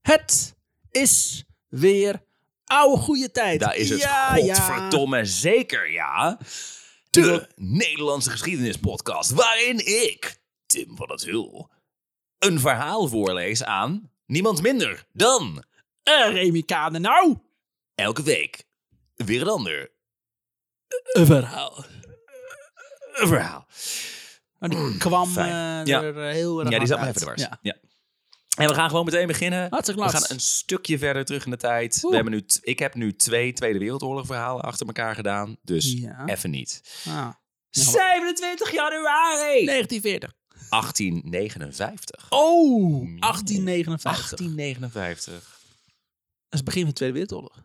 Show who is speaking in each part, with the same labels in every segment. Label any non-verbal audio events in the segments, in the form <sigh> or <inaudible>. Speaker 1: Het is weer oude goede tijd.
Speaker 2: Daar is het
Speaker 1: Ja, ja.
Speaker 2: godverdomme zeker, ja. De Nederlandse geschiedenispodcast, waarin ik, Tim van het Hul, een verhaal voorlees aan niemand minder dan
Speaker 1: Eh, Remy Kade, nou.
Speaker 2: elke week weer een ander Oh.
Speaker 1: Een verhaal.
Speaker 2: verhaal.
Speaker 1: Die kwam
Speaker 2: Fijn.
Speaker 1: eh,
Speaker 2: Ja.
Speaker 1: er eh, heel erg
Speaker 2: Ja, die zat me
Speaker 1: hard
Speaker 2: even dwars.
Speaker 1: uit.
Speaker 2: Ja. En we gaan gewoon meteen beginnen.
Speaker 1: Hartstikke
Speaker 2: We
Speaker 1: last.
Speaker 2: gaan een stukje verder terug in de tijd.
Speaker 1: Oeh.
Speaker 2: We hebben nu t- ik heb nu twee Tweede Wereldoorlog verhalen achter elkaar gedaan. Dus
Speaker 1: Ja.
Speaker 2: even niet.
Speaker 1: Ja. Ah,
Speaker 2: 27 januari
Speaker 1: 1940.
Speaker 2: 1859.
Speaker 1: Oh, 1859.
Speaker 2: 1859.
Speaker 1: Dat is het begin van de Tweede Wereldoorlog.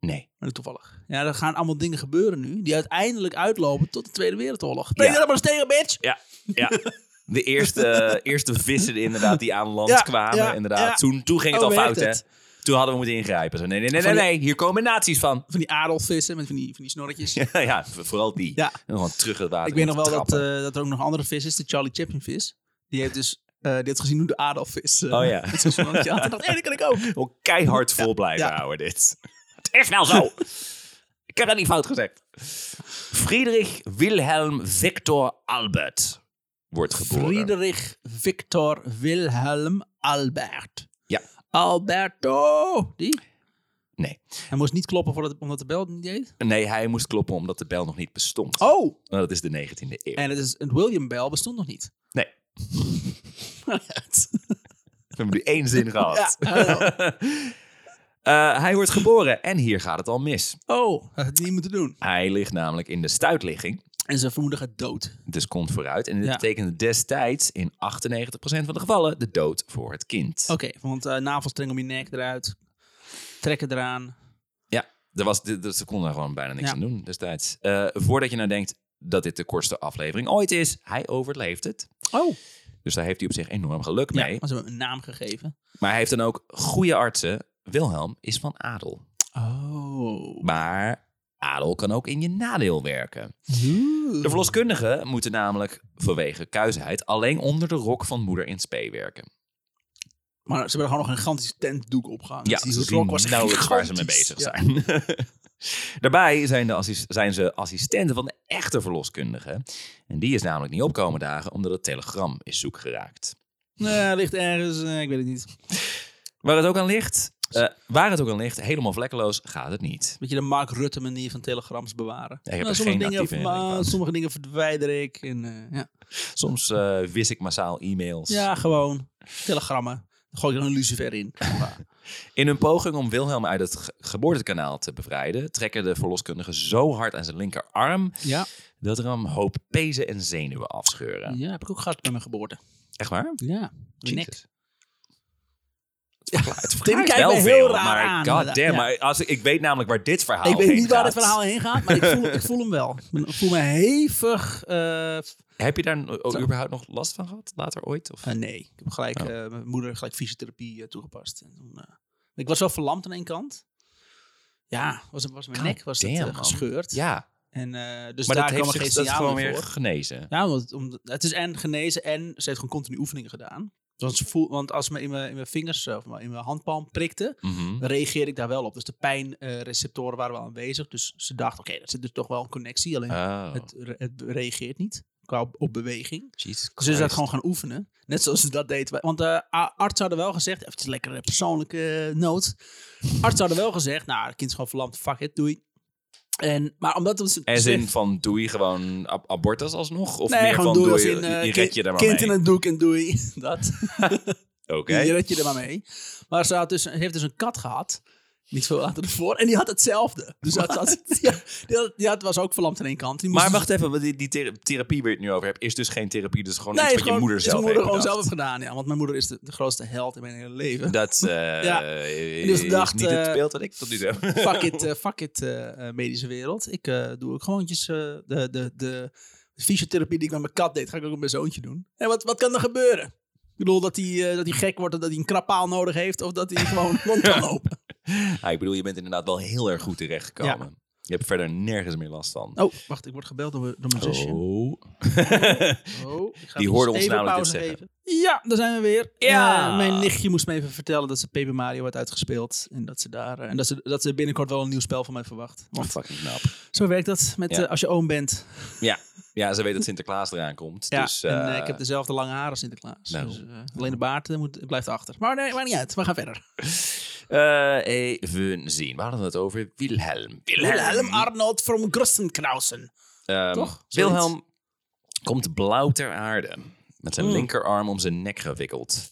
Speaker 2: Nee.
Speaker 1: Maar toevallig. Ja, er gaan allemaal dingen gebeuren nu die uiteindelijk uitlopen tot de Tweede Wereldoorlog. Ben je
Speaker 2: Ja.
Speaker 1: dat maar eens tegen, bitch?
Speaker 2: Ja. <laughs> De eerste, eerste vissen inderdaad die aan land
Speaker 1: Ja,
Speaker 2: kwamen.
Speaker 1: ja,
Speaker 2: inderdaad.
Speaker 1: ja.
Speaker 2: Toen, toen ging het
Speaker 1: Oh,
Speaker 2: al fout,
Speaker 1: werkt
Speaker 2: hè?
Speaker 1: het?
Speaker 2: Toen hadden we moeten ingrijpen. Zo, nee, nee, nee,
Speaker 1: Van
Speaker 2: nee,
Speaker 1: die-
Speaker 2: nee. Hier komen naties van.
Speaker 1: Van die adelvissen met van die, van die snorretjes.
Speaker 2: <laughs> ja, vooral die.
Speaker 1: Ja.
Speaker 2: En Gewoon terug het water.
Speaker 1: Ik weet
Speaker 2: in
Speaker 1: nog wel dat,
Speaker 2: trappen.
Speaker 1: eh, dat er ook nog een andere vis is, de Charlie Chaplin vis. Die heeft dus eh, die heeft gezien hoe de adelvis eh,
Speaker 2: Oh
Speaker 1: <laughs>
Speaker 2: ja.
Speaker 1: met zo'n slangetje had. En dacht, hé, dat kan ik ook.
Speaker 2: Wel keihard vol blijven
Speaker 1: ja.
Speaker 2: houden, dit. eh, <laughs> Het is wel zo. Ik heb dat niet fout gezegd. Friedrich Wilhelm Victor Albert wordt geboren.
Speaker 1: Friedrich Victor Wilhelm Albert.
Speaker 2: Ja.
Speaker 1: Alberto! Die?
Speaker 2: Nee.
Speaker 1: Hij moest niet kloppen voor het, omdat de bel het niet deed.
Speaker 2: nee, hij moest kloppen omdat de bel nog niet bestond.
Speaker 1: Oh!
Speaker 2: Nou, dat is de 19e eeuw.
Speaker 1: En het is, een William Bell bestond nog niet. <laughs>
Speaker 2: Nee. We
Speaker 1: <laughs>
Speaker 2: hebben nu één zin gehad. <laughs>
Speaker 1: Ja, hallo.
Speaker 2: Eh, hij wordt geboren en hier gaat het al mis.
Speaker 1: oh, had het niet moeten doen.
Speaker 2: Hij ligt namelijk in de stuitligging,
Speaker 1: En zijn vermoeden gaat dood.
Speaker 2: dus komt vooruit. En dit
Speaker 1: Ja.
Speaker 2: betekende destijds in 98% van de gevallen de dood voor het kind.
Speaker 1: Oké, want eh, navelstreng om je nek eruit. Trekken eraan.
Speaker 2: Ja, er was, d- d- ze konden er gewoon bijna niks
Speaker 1: Ja.
Speaker 2: aan doen destijds. Eh, voordat je nou denkt dat dit de kortste aflevering ooit is, hij overleeft het.
Speaker 1: Oh!
Speaker 2: Dus daar heeft hij op zich enorm geluk
Speaker 1: Ja,
Speaker 2: mee.
Speaker 1: maar ze hebben hem een naam gegeven.
Speaker 2: Maar hij heeft dan ook goede artsen. Wilhelm is van adel.
Speaker 1: Oh.
Speaker 2: Maar adel kan ook in je nadeel werken.
Speaker 1: Oeh.
Speaker 2: De verloskundigen moeten namelijk vanwege kuisheid alleen onder de rok van moeder in spe werken.
Speaker 1: Maar ze hebben er gewoon nog een gigantisch tentdoek opgehangen.
Speaker 2: Ja,
Speaker 1: Dus die
Speaker 2: ze
Speaker 1: rok
Speaker 2: zien
Speaker 1: was
Speaker 2: nauwelijks waar ze mee
Speaker 1: gigantisch.
Speaker 2: bezig zijn. <laughs> Daarbij zijn, de assis- zijn ze assistenten van de echte verloskundige. En die is namelijk niet opkomen dagen omdat het telegram is zoek geraakt.
Speaker 1: Ja. Nee, ligt ergens, eh, ik weet het niet.
Speaker 2: Waar het ook aan ligt, eh, waar het ook aan ligt, helemaal vlekkeloos gaat het niet.
Speaker 1: Beetje de Mark Rutte manier van telegrams bewaren. Nou,
Speaker 2: Ja, ik heb er
Speaker 1: sommige,
Speaker 2: geen
Speaker 1: dingen,
Speaker 2: actieve herinnering
Speaker 1: verma-
Speaker 2: van.
Speaker 1: sommige dingen verwijder ik. En, eh, ja.
Speaker 2: Soms eh, wis ik massaal e-mails.
Speaker 1: ja, gewoon telegrammen. Dan gooi je er een lucifer
Speaker 2: <laughs>
Speaker 1: in.
Speaker 2: In hun poging om Wilhelm uit het ge- geboortekanaal te bevrijden, trekken de verloskundigen zo hard aan zijn linkerarm
Speaker 1: ja.
Speaker 2: dat er hem een hoop pezen en zenuwen afscheuren.
Speaker 1: ja, heb ik ook gehad bij mijn geboorte.
Speaker 2: Echt waar?
Speaker 1: Ja, mijn
Speaker 2: Jesus.
Speaker 1: nek.
Speaker 2: Het verklaart- het
Speaker 1: Tim
Speaker 2: verklaart
Speaker 1: kijkt
Speaker 2: wel
Speaker 1: me
Speaker 2: veel,
Speaker 1: heel raar
Speaker 2: maar
Speaker 1: aan,
Speaker 2: God damn,
Speaker 1: inderdaad.
Speaker 2: maar als ik, ik weet namelijk waar dit verhaal
Speaker 1: Ik weet
Speaker 2: heen
Speaker 1: niet waar
Speaker 2: gaat.
Speaker 1: het verhaal heen gaat, maar ik voel, ik voel hem wel. Ik ben- Ik voel me hevig. eh, f-
Speaker 2: Heb je daar n- o- überhaupt nog last van gehad? Later ooit? Of?
Speaker 1: eh, nee, ik heb gelijk
Speaker 2: Oh.
Speaker 1: eh, mijn moeder gelijk fysiotherapie eh, toegepast. En toen, eh, ik was wel verlamd aan één kant. Ja, was, was mijn
Speaker 2: God
Speaker 1: nek was het,
Speaker 2: Oh, damn,
Speaker 1: eh,
Speaker 2: man.
Speaker 1: gescheurd.
Speaker 2: ja,
Speaker 1: En, eh, dus
Speaker 2: maar
Speaker 1: daar kwam
Speaker 2: dat heeft
Speaker 1: er geen
Speaker 2: zich dat
Speaker 1: signaal
Speaker 2: gewoon
Speaker 1: meer
Speaker 2: weer
Speaker 1: voor.
Speaker 2: genezen.
Speaker 1: Ja, want om, het is en genezen en ze heeft gewoon continu oefeningen gedaan. Want, ze voel, want als me in mijn, in mijn vingers, eh, of in mijn handpalm prikte,
Speaker 2: Mhm.
Speaker 1: reageerde ik daar wel op. Dus de pijnreceptoren waren wel aanwezig. Dus ze dacht, oké, dat zit er toch wel een connectie. Alleen
Speaker 2: Oh,
Speaker 1: het, re- het reageert niet qua op, op beweging. Dus
Speaker 2: Jesus
Speaker 1: ze is dat
Speaker 2: Christ.
Speaker 1: gewoon gaan oefenen. Net zoals ze dat deed. bij- Want de arts hadden wel gezegd, even een lekkere persoonlijke eh, noot. Arts hadden wel gezegd, nou, het kind is gewoon verlamd, fuck it, doei. En, maar omdat we ze-
Speaker 2: En
Speaker 1: ze-
Speaker 2: zin van doe je gewoon ab- abortus alsnog? Of meer
Speaker 1: dus nee, gewoon
Speaker 2: van
Speaker 1: doei
Speaker 2: doe
Speaker 1: als
Speaker 2: je,
Speaker 1: in eh,
Speaker 2: je
Speaker 1: kind,
Speaker 2: red je daar maar
Speaker 1: kind
Speaker 2: mee?
Speaker 1: in een doek en doei. <laughs> Dat.
Speaker 2: Oké.
Speaker 1: Je red je er maar mee. Maar ze, had dus, ze heeft dus een kat gehad. Niet veel later ervoor. En die had hetzelfde. Dus dat had, <laughs> ja, die, had, die had- was ook verlamd aan één kant. Die moest
Speaker 2: Maar
Speaker 1: dus-
Speaker 2: wacht even, want die, die thera- therapie waar je het nu over hebt, is dus geen therapie. Dat is gewoon
Speaker 1: Nee,
Speaker 2: iets
Speaker 1: is
Speaker 2: wat
Speaker 1: gewoon,
Speaker 2: je moeder
Speaker 1: is
Speaker 2: zelf
Speaker 1: mijn moeder
Speaker 2: heeft
Speaker 1: gewoon zelf
Speaker 2: bedacht.
Speaker 1: heeft gedaan. Ja, want mijn moeder is de, de grootste held in mijn hele leven.
Speaker 2: Dat eh,
Speaker 1: <laughs> Ja. die
Speaker 2: is
Speaker 1: heeft gedacht,
Speaker 2: niet het
Speaker 1: eh,
Speaker 2: beeld dat ik tot nu toe heb.
Speaker 1: <laughs> fuck it, eh, fuck it eh, eh, medische wereld. Ik eh, doe ook gewoontjes eh, de, de, de fysiotherapie die ik met mijn kat deed, ga ik ook met mijn zoontje doen. En wat, wat kan er gebeuren? Ik bedoel, dat hij, eh, dat hij gek wordt en dat hij een krappaal nodig
Speaker 2: <laughs>
Speaker 1: heeft of dat hij gewoon rond kan lopen.
Speaker 2: Ah, ik bedoel, je bent inderdaad wel heel erg goed terechtgekomen. Je hebt verder nergens meer last van.
Speaker 1: Oh, wacht, ik word gebeld door, mijn- door mijn zusje.
Speaker 2: Oh.
Speaker 1: Oh, ik ga
Speaker 2: Die
Speaker 1: hem
Speaker 2: hoorde
Speaker 1: dus
Speaker 2: ons
Speaker 1: even
Speaker 2: namelijk dit
Speaker 1: pauze
Speaker 2: zeggen.
Speaker 1: geven. Ja, daar zijn we weer.
Speaker 2: Ja.
Speaker 1: Eh, mijn nichtje moest me even vertellen dat ze Paper Mario had uitgespeeld. En dat ze daar. eh, en dat ze, dat ze binnenkort wel een nieuw spel van mij verwacht. Want
Speaker 2: fucking knap.
Speaker 1: zo werkt dat met,
Speaker 2: Ja.
Speaker 1: eh, als je oom bent.
Speaker 2: Ja. ja, ze weet dat Sinterklaas eraan komt.
Speaker 1: Ja,
Speaker 2: dus,
Speaker 1: en
Speaker 2: eh,
Speaker 1: eh, ik heb dezelfde lange haren als Sinterklaas.
Speaker 2: Nou.
Speaker 1: Dus, eh, alleen de baard eh, moet, blijft achter. Maar nee, maakt niet uit. We gaan verder.
Speaker 2: eh, even zien. We hadden het over Wilhelm.
Speaker 1: Wilhelm Arnold from Grustenkrausen.
Speaker 2: Ehm,
Speaker 1: Toch? Zoiets.
Speaker 2: Wilhelm komt blauw ter aarde. Met zijn
Speaker 1: Mm.
Speaker 2: linkerarm om zijn nek gewikkeld.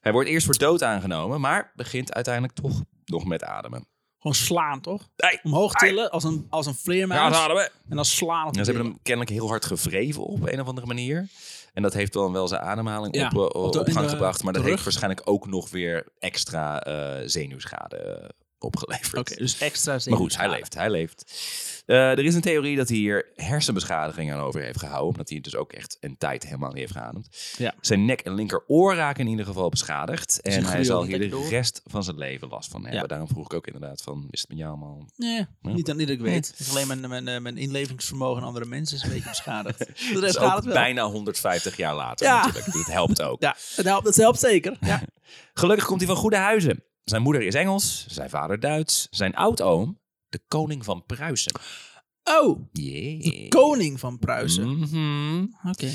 Speaker 2: Hij wordt eerst voor dood aangenomen, maar begint uiteindelijk toch nog met ademen.
Speaker 1: Gewoon slaan, toch?
Speaker 2: Hey,
Speaker 1: Omhoog tillen als een, als een
Speaker 2: gaat
Speaker 1: vleermuis.
Speaker 2: ademen!
Speaker 1: en dan slaan op
Speaker 2: Ja,
Speaker 1: de
Speaker 2: ze hebben
Speaker 1: billen.
Speaker 2: hem kennelijk heel hard gevreven op een of andere manier. En dat heeft dan wel zijn ademhaling
Speaker 1: Ja,
Speaker 2: op, eh,
Speaker 1: op de-
Speaker 2: op gang
Speaker 1: in de-
Speaker 2: gebracht. Maar dat
Speaker 1: terug.
Speaker 2: heeft waarschijnlijk ook nog weer extra eh, zenuwschade eh, opgeleverd.
Speaker 1: Oké, dus extra
Speaker 2: Maar goed, hij
Speaker 1: zenuwschade.
Speaker 2: leeft, hij leeft. Eh, er is een theorie dat hij hier hersenbeschadiging aan over heeft gehouden. Omdat hij het dus ook echt een tijd helemaal niet heeft geademd.
Speaker 1: Ja.
Speaker 2: Zijn nek en linkeroor raken in ieder geval beschadigd. En hij
Speaker 1: gloeiend
Speaker 2: zal hier de
Speaker 1: lekker door.
Speaker 2: rest van zijn leven last van hebben.
Speaker 1: Ja.
Speaker 2: Daarom vroeg ik ook inderdaad van, is het met jou allemaal...
Speaker 1: Nee, niet, dat, niet dat ik weet. Het is alleen mijn, mijn, eh, mijn inlevingsvermogen aan andere mensen is een beetje
Speaker 2: <laughs>
Speaker 1: beschadigd. De
Speaker 2: Dat
Speaker 1: rest
Speaker 2: is
Speaker 1: gaat
Speaker 2: ook
Speaker 1: het wel.
Speaker 2: bijna 150 jaar later
Speaker 1: Ja.
Speaker 2: natuurlijk. Dat helpt
Speaker 1: <laughs>
Speaker 2: ook.
Speaker 1: Ja, dat helpt, dat helpt zeker.
Speaker 2: <laughs>
Speaker 1: Ja.
Speaker 2: Gelukkig komt hij van goede huizen. Zijn moeder is Engels, zijn vader Duits, zijn oudoom de koning van Pruisen.
Speaker 1: Oh,
Speaker 2: Yeah.
Speaker 1: koning van Pruisen.
Speaker 2: Mhm.
Speaker 1: Oké.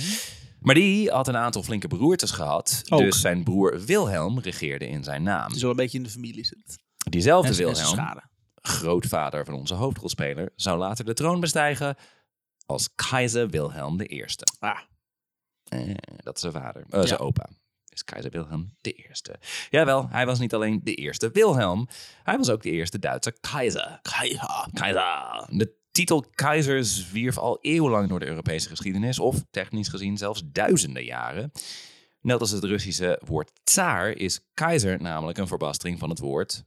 Speaker 2: Maar die had een aantal flinke beroertes gehad.
Speaker 1: Ook.
Speaker 2: Dus zijn broer Wilhelm regeerde in zijn naam.
Speaker 1: Die zal een beetje in de familie zitten.
Speaker 2: Diezelfde
Speaker 1: En- en zijn
Speaker 2: Wilhelm,
Speaker 1: schade.
Speaker 2: grootvader van onze hoofdrolspeler, zou later de troon bestijgen als keizer Wilhelm I.
Speaker 1: Ah,
Speaker 2: Eh, dat is zijn vader, eh, zijn
Speaker 1: Ja.
Speaker 2: opa. Is keizer Wilhelm I. Jawel, hij was niet alleen de eerste Wilhelm, hij was ook de eerste Duitse keizer.
Speaker 1: Kaiha.
Speaker 2: Keizer. De titel keizer zwierf al eeuwenlang door de Europese geschiedenis, of technisch gezien zelfs duizenden jaren. Net als het Russische woord tsaar is keizer namelijk een verbastering van het woord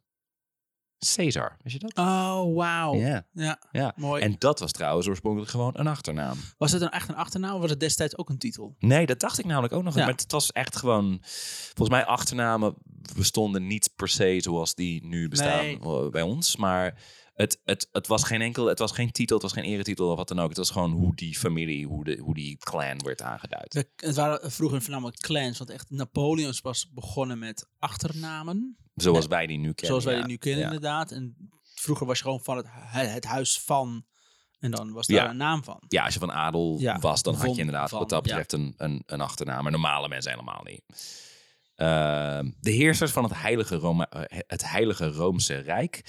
Speaker 2: Caesar. Weet je dat?
Speaker 1: Oh, wauw.
Speaker 2: Ja,
Speaker 1: Ja,
Speaker 2: ja.
Speaker 1: mooi.
Speaker 2: En dat was trouwens oorspronkelijk gewoon een achternaam.
Speaker 1: was het een echt een achternaam of was het destijds ook een titel?
Speaker 2: Nee, dat dacht ik namelijk ook nog niet.
Speaker 1: Ja.
Speaker 2: Maar het was echt gewoon... Volgens mij achternamen bestonden niet per se zoals die nu bestaan
Speaker 1: Nee.
Speaker 2: eh, bij ons. Maar het, het, het was geen enkel... Het was geen titel, het was geen eretitel of wat dan ook. Het was gewoon hoe die familie, hoe, de, hoe die clan werd aangeduid.
Speaker 1: De- het waren vroeger voornamelijk clans, want echt Napoleon is pas begonnen met achternamen.
Speaker 2: zoals wij die nu kennen.
Speaker 1: zoals wij
Speaker 2: ja.
Speaker 1: die nu kennen
Speaker 2: Ja.
Speaker 1: inderdaad. En vroeger was je gewoon van het, hu- het huis van en dan was daar
Speaker 2: Ja.
Speaker 1: een naam van.
Speaker 2: Ja, als je van adel
Speaker 1: Ja,
Speaker 2: was, dan had
Speaker 1: van-
Speaker 2: je inderdaad
Speaker 1: van,
Speaker 2: wat dat
Speaker 1: ja.
Speaker 2: betreft een, een, een achternaam. Maar normale mensen helemaal niet. Ehm, de heersers van het Heilige, Rome, eh, het Heilige Roomse Rijk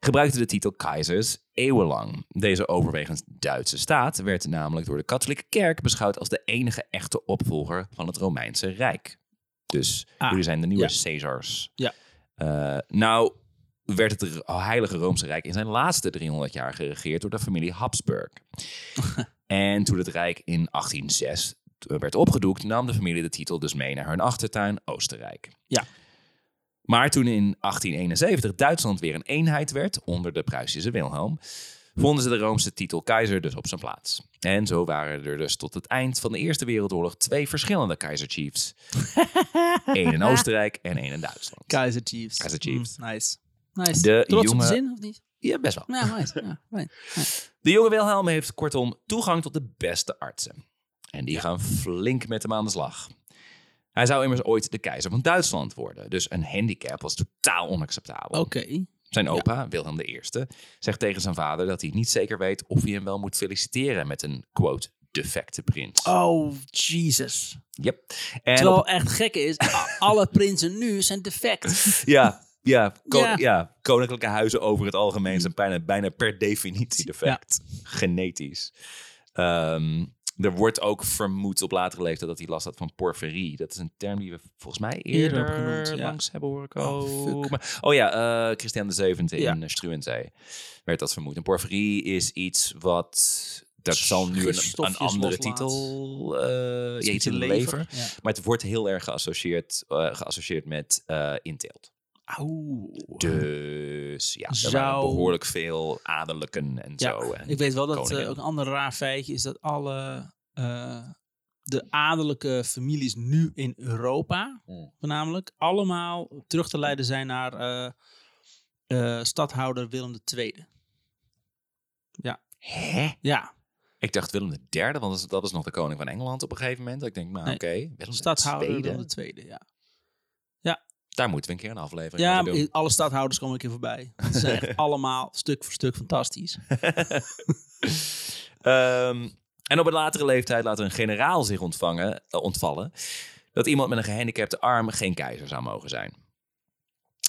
Speaker 2: gebruikten de titel keizers eeuwenlang. Deze overwegend Duitse staat werd namelijk door de katholieke kerk beschouwd als de enige echte opvolger van het Romeinse Rijk. Dus
Speaker 1: Ah,
Speaker 2: jullie zijn de nieuwe
Speaker 1: ja.
Speaker 2: Caesars.
Speaker 1: Ja.
Speaker 2: Eh, nou werd het oh, Heilige Roomse Rijk in zijn laatste 300 jaar geregeerd door de familie Habsburg. En toen het Rijk in 1806 werd opgedoekt, nam de familie de titel dus mee naar hun achtertuin Oostenrijk.
Speaker 1: Ja.
Speaker 2: Maar toen in 1871 Duitsland weer een eenheid werd onder de Pruisische Wilhelm, vonden ze de Roomse titel keizer dus op zijn plaats. En zo waren er dus tot het eind van de Eerste Wereldoorlog twee verschillende keizerchiefs. Eén in Oostenrijk en één in Duitsland.
Speaker 1: Kaiser Chiefs.
Speaker 2: Kaiser Chiefs.
Speaker 1: Mm, nice. Nice.
Speaker 2: De
Speaker 1: Trots op
Speaker 2: jonge-
Speaker 1: de zin, of niet?
Speaker 2: Ja, best wel.
Speaker 1: Ja, nice. ja, <laughs> fijn.
Speaker 2: De jonge Wilhelm heeft kortom toegang tot de beste artsen. En die gaan flink met hem aan de slag. Hij zou immers ooit de keizer van Duitsland worden. Dus een handicap was totaal onacceptabel.
Speaker 1: Oké.
Speaker 2: Zijn opa, Wilhelm I, zegt tegen zijn vader dat hij niet zeker weet of hij hem wel moet feliciteren met een quote defecte prins.
Speaker 1: Oh, Jesus.
Speaker 2: Yep. En
Speaker 1: Terwijl
Speaker 2: op-
Speaker 1: echt gek is, <laughs> a- alle prinsen nu zijn
Speaker 2: <laughs>
Speaker 1: defect.
Speaker 2: ja, ja, kon-
Speaker 1: Ja.
Speaker 2: ja, koninklijke huizen over het algemeen zijn bijna, bijna per definitie defect. Genetisch. Ehm, er wordt ook vermoed op latere leeftijd dat hij last had van porferie. Dat is een term die we volgens mij eerder,
Speaker 1: Eerder opgenoemd, ja.
Speaker 2: langs hebben horen
Speaker 1: Oh,
Speaker 2: komen.
Speaker 1: fuck.
Speaker 2: Maar- Oh, ja, eh Christian de Zevende
Speaker 1: Ja.
Speaker 2: in eh, Struwenzee werd dat vermoed. En porferie is iets wat... Dat zal nu een, een
Speaker 1: Gifstofjes
Speaker 2: andere
Speaker 1: loslaat.
Speaker 2: titel... eh ja, iets in de lever. Maar het wordt heel erg geassocieerd, eh, geassocieerd met eh inteelt.
Speaker 1: Ja. Auw.
Speaker 2: Dus ja, er waren
Speaker 1: Zou-
Speaker 2: behoorlijk veel adellijken en
Speaker 1: Ja,
Speaker 2: zo. En
Speaker 1: Ik weet wel dat eh,
Speaker 2: koningen.
Speaker 1: ook een ander raar feitje is dat alle eh, de adellijke families nu in Europa,
Speaker 2: Mm.
Speaker 1: voornamelijk, allemaal terug te leiden zijn naar eh, eh, stadhouder Willem II. Ja.
Speaker 2: Hè?
Speaker 1: Ja,
Speaker 2: Ik dacht Willem de derde, want dat is- dat is nog de koning van Engeland op een gegeven moment. Ik denk, nou
Speaker 1: Nee.
Speaker 2: oké, Willem de
Speaker 1: stadhouder
Speaker 2: tweede.
Speaker 1: dan de tweede, ja.
Speaker 2: Daar moeten we een keer een aflevering
Speaker 1: Ja,
Speaker 2: over doen.
Speaker 1: maar alle stadhouders komen een keer voorbij. Ze zijn
Speaker 2: <laughs>
Speaker 1: echt allemaal stuk voor stuk fantastisch.
Speaker 2: Ehm, en op een latere leeftijd laat er een generaal zich ontvangen, eh, ontvallen dat iemand met een gehandicapte arm geen keizer zou mogen zijn.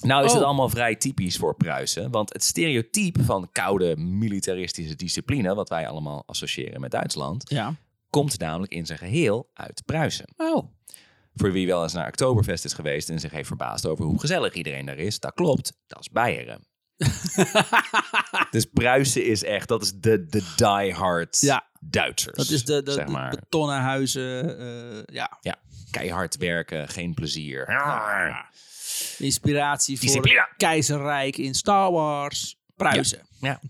Speaker 2: Nou is
Speaker 1: Oh.
Speaker 2: het allemaal vrij typisch voor Pruisen, want het stereotype van koude militaristische discipline, wat wij allemaal associëren met Duitsland,
Speaker 1: Ja.
Speaker 2: komt namelijk in zijn geheel uit Pruisen.
Speaker 1: Oh.
Speaker 2: Voor wie wel eens naar Oktoberfest is geweest en zich heeft verbaasd over hoe gezellig iedereen daar is, dat klopt, dat is
Speaker 1: <laughs>
Speaker 2: Beieren. dus Pruisen is echt, dat is de, de diehard
Speaker 1: Ja.
Speaker 2: Duitsers.
Speaker 1: Dat is de, de,
Speaker 2: zeg
Speaker 1: de
Speaker 2: maar.
Speaker 1: betonnen huizen. eh, ja,
Speaker 2: Ja, keihard werken, geen plezier.
Speaker 1: de inspiratie voor
Speaker 2: Discipline.
Speaker 1: het keizerrijk in Star Wars. Pruisen.
Speaker 2: Ja.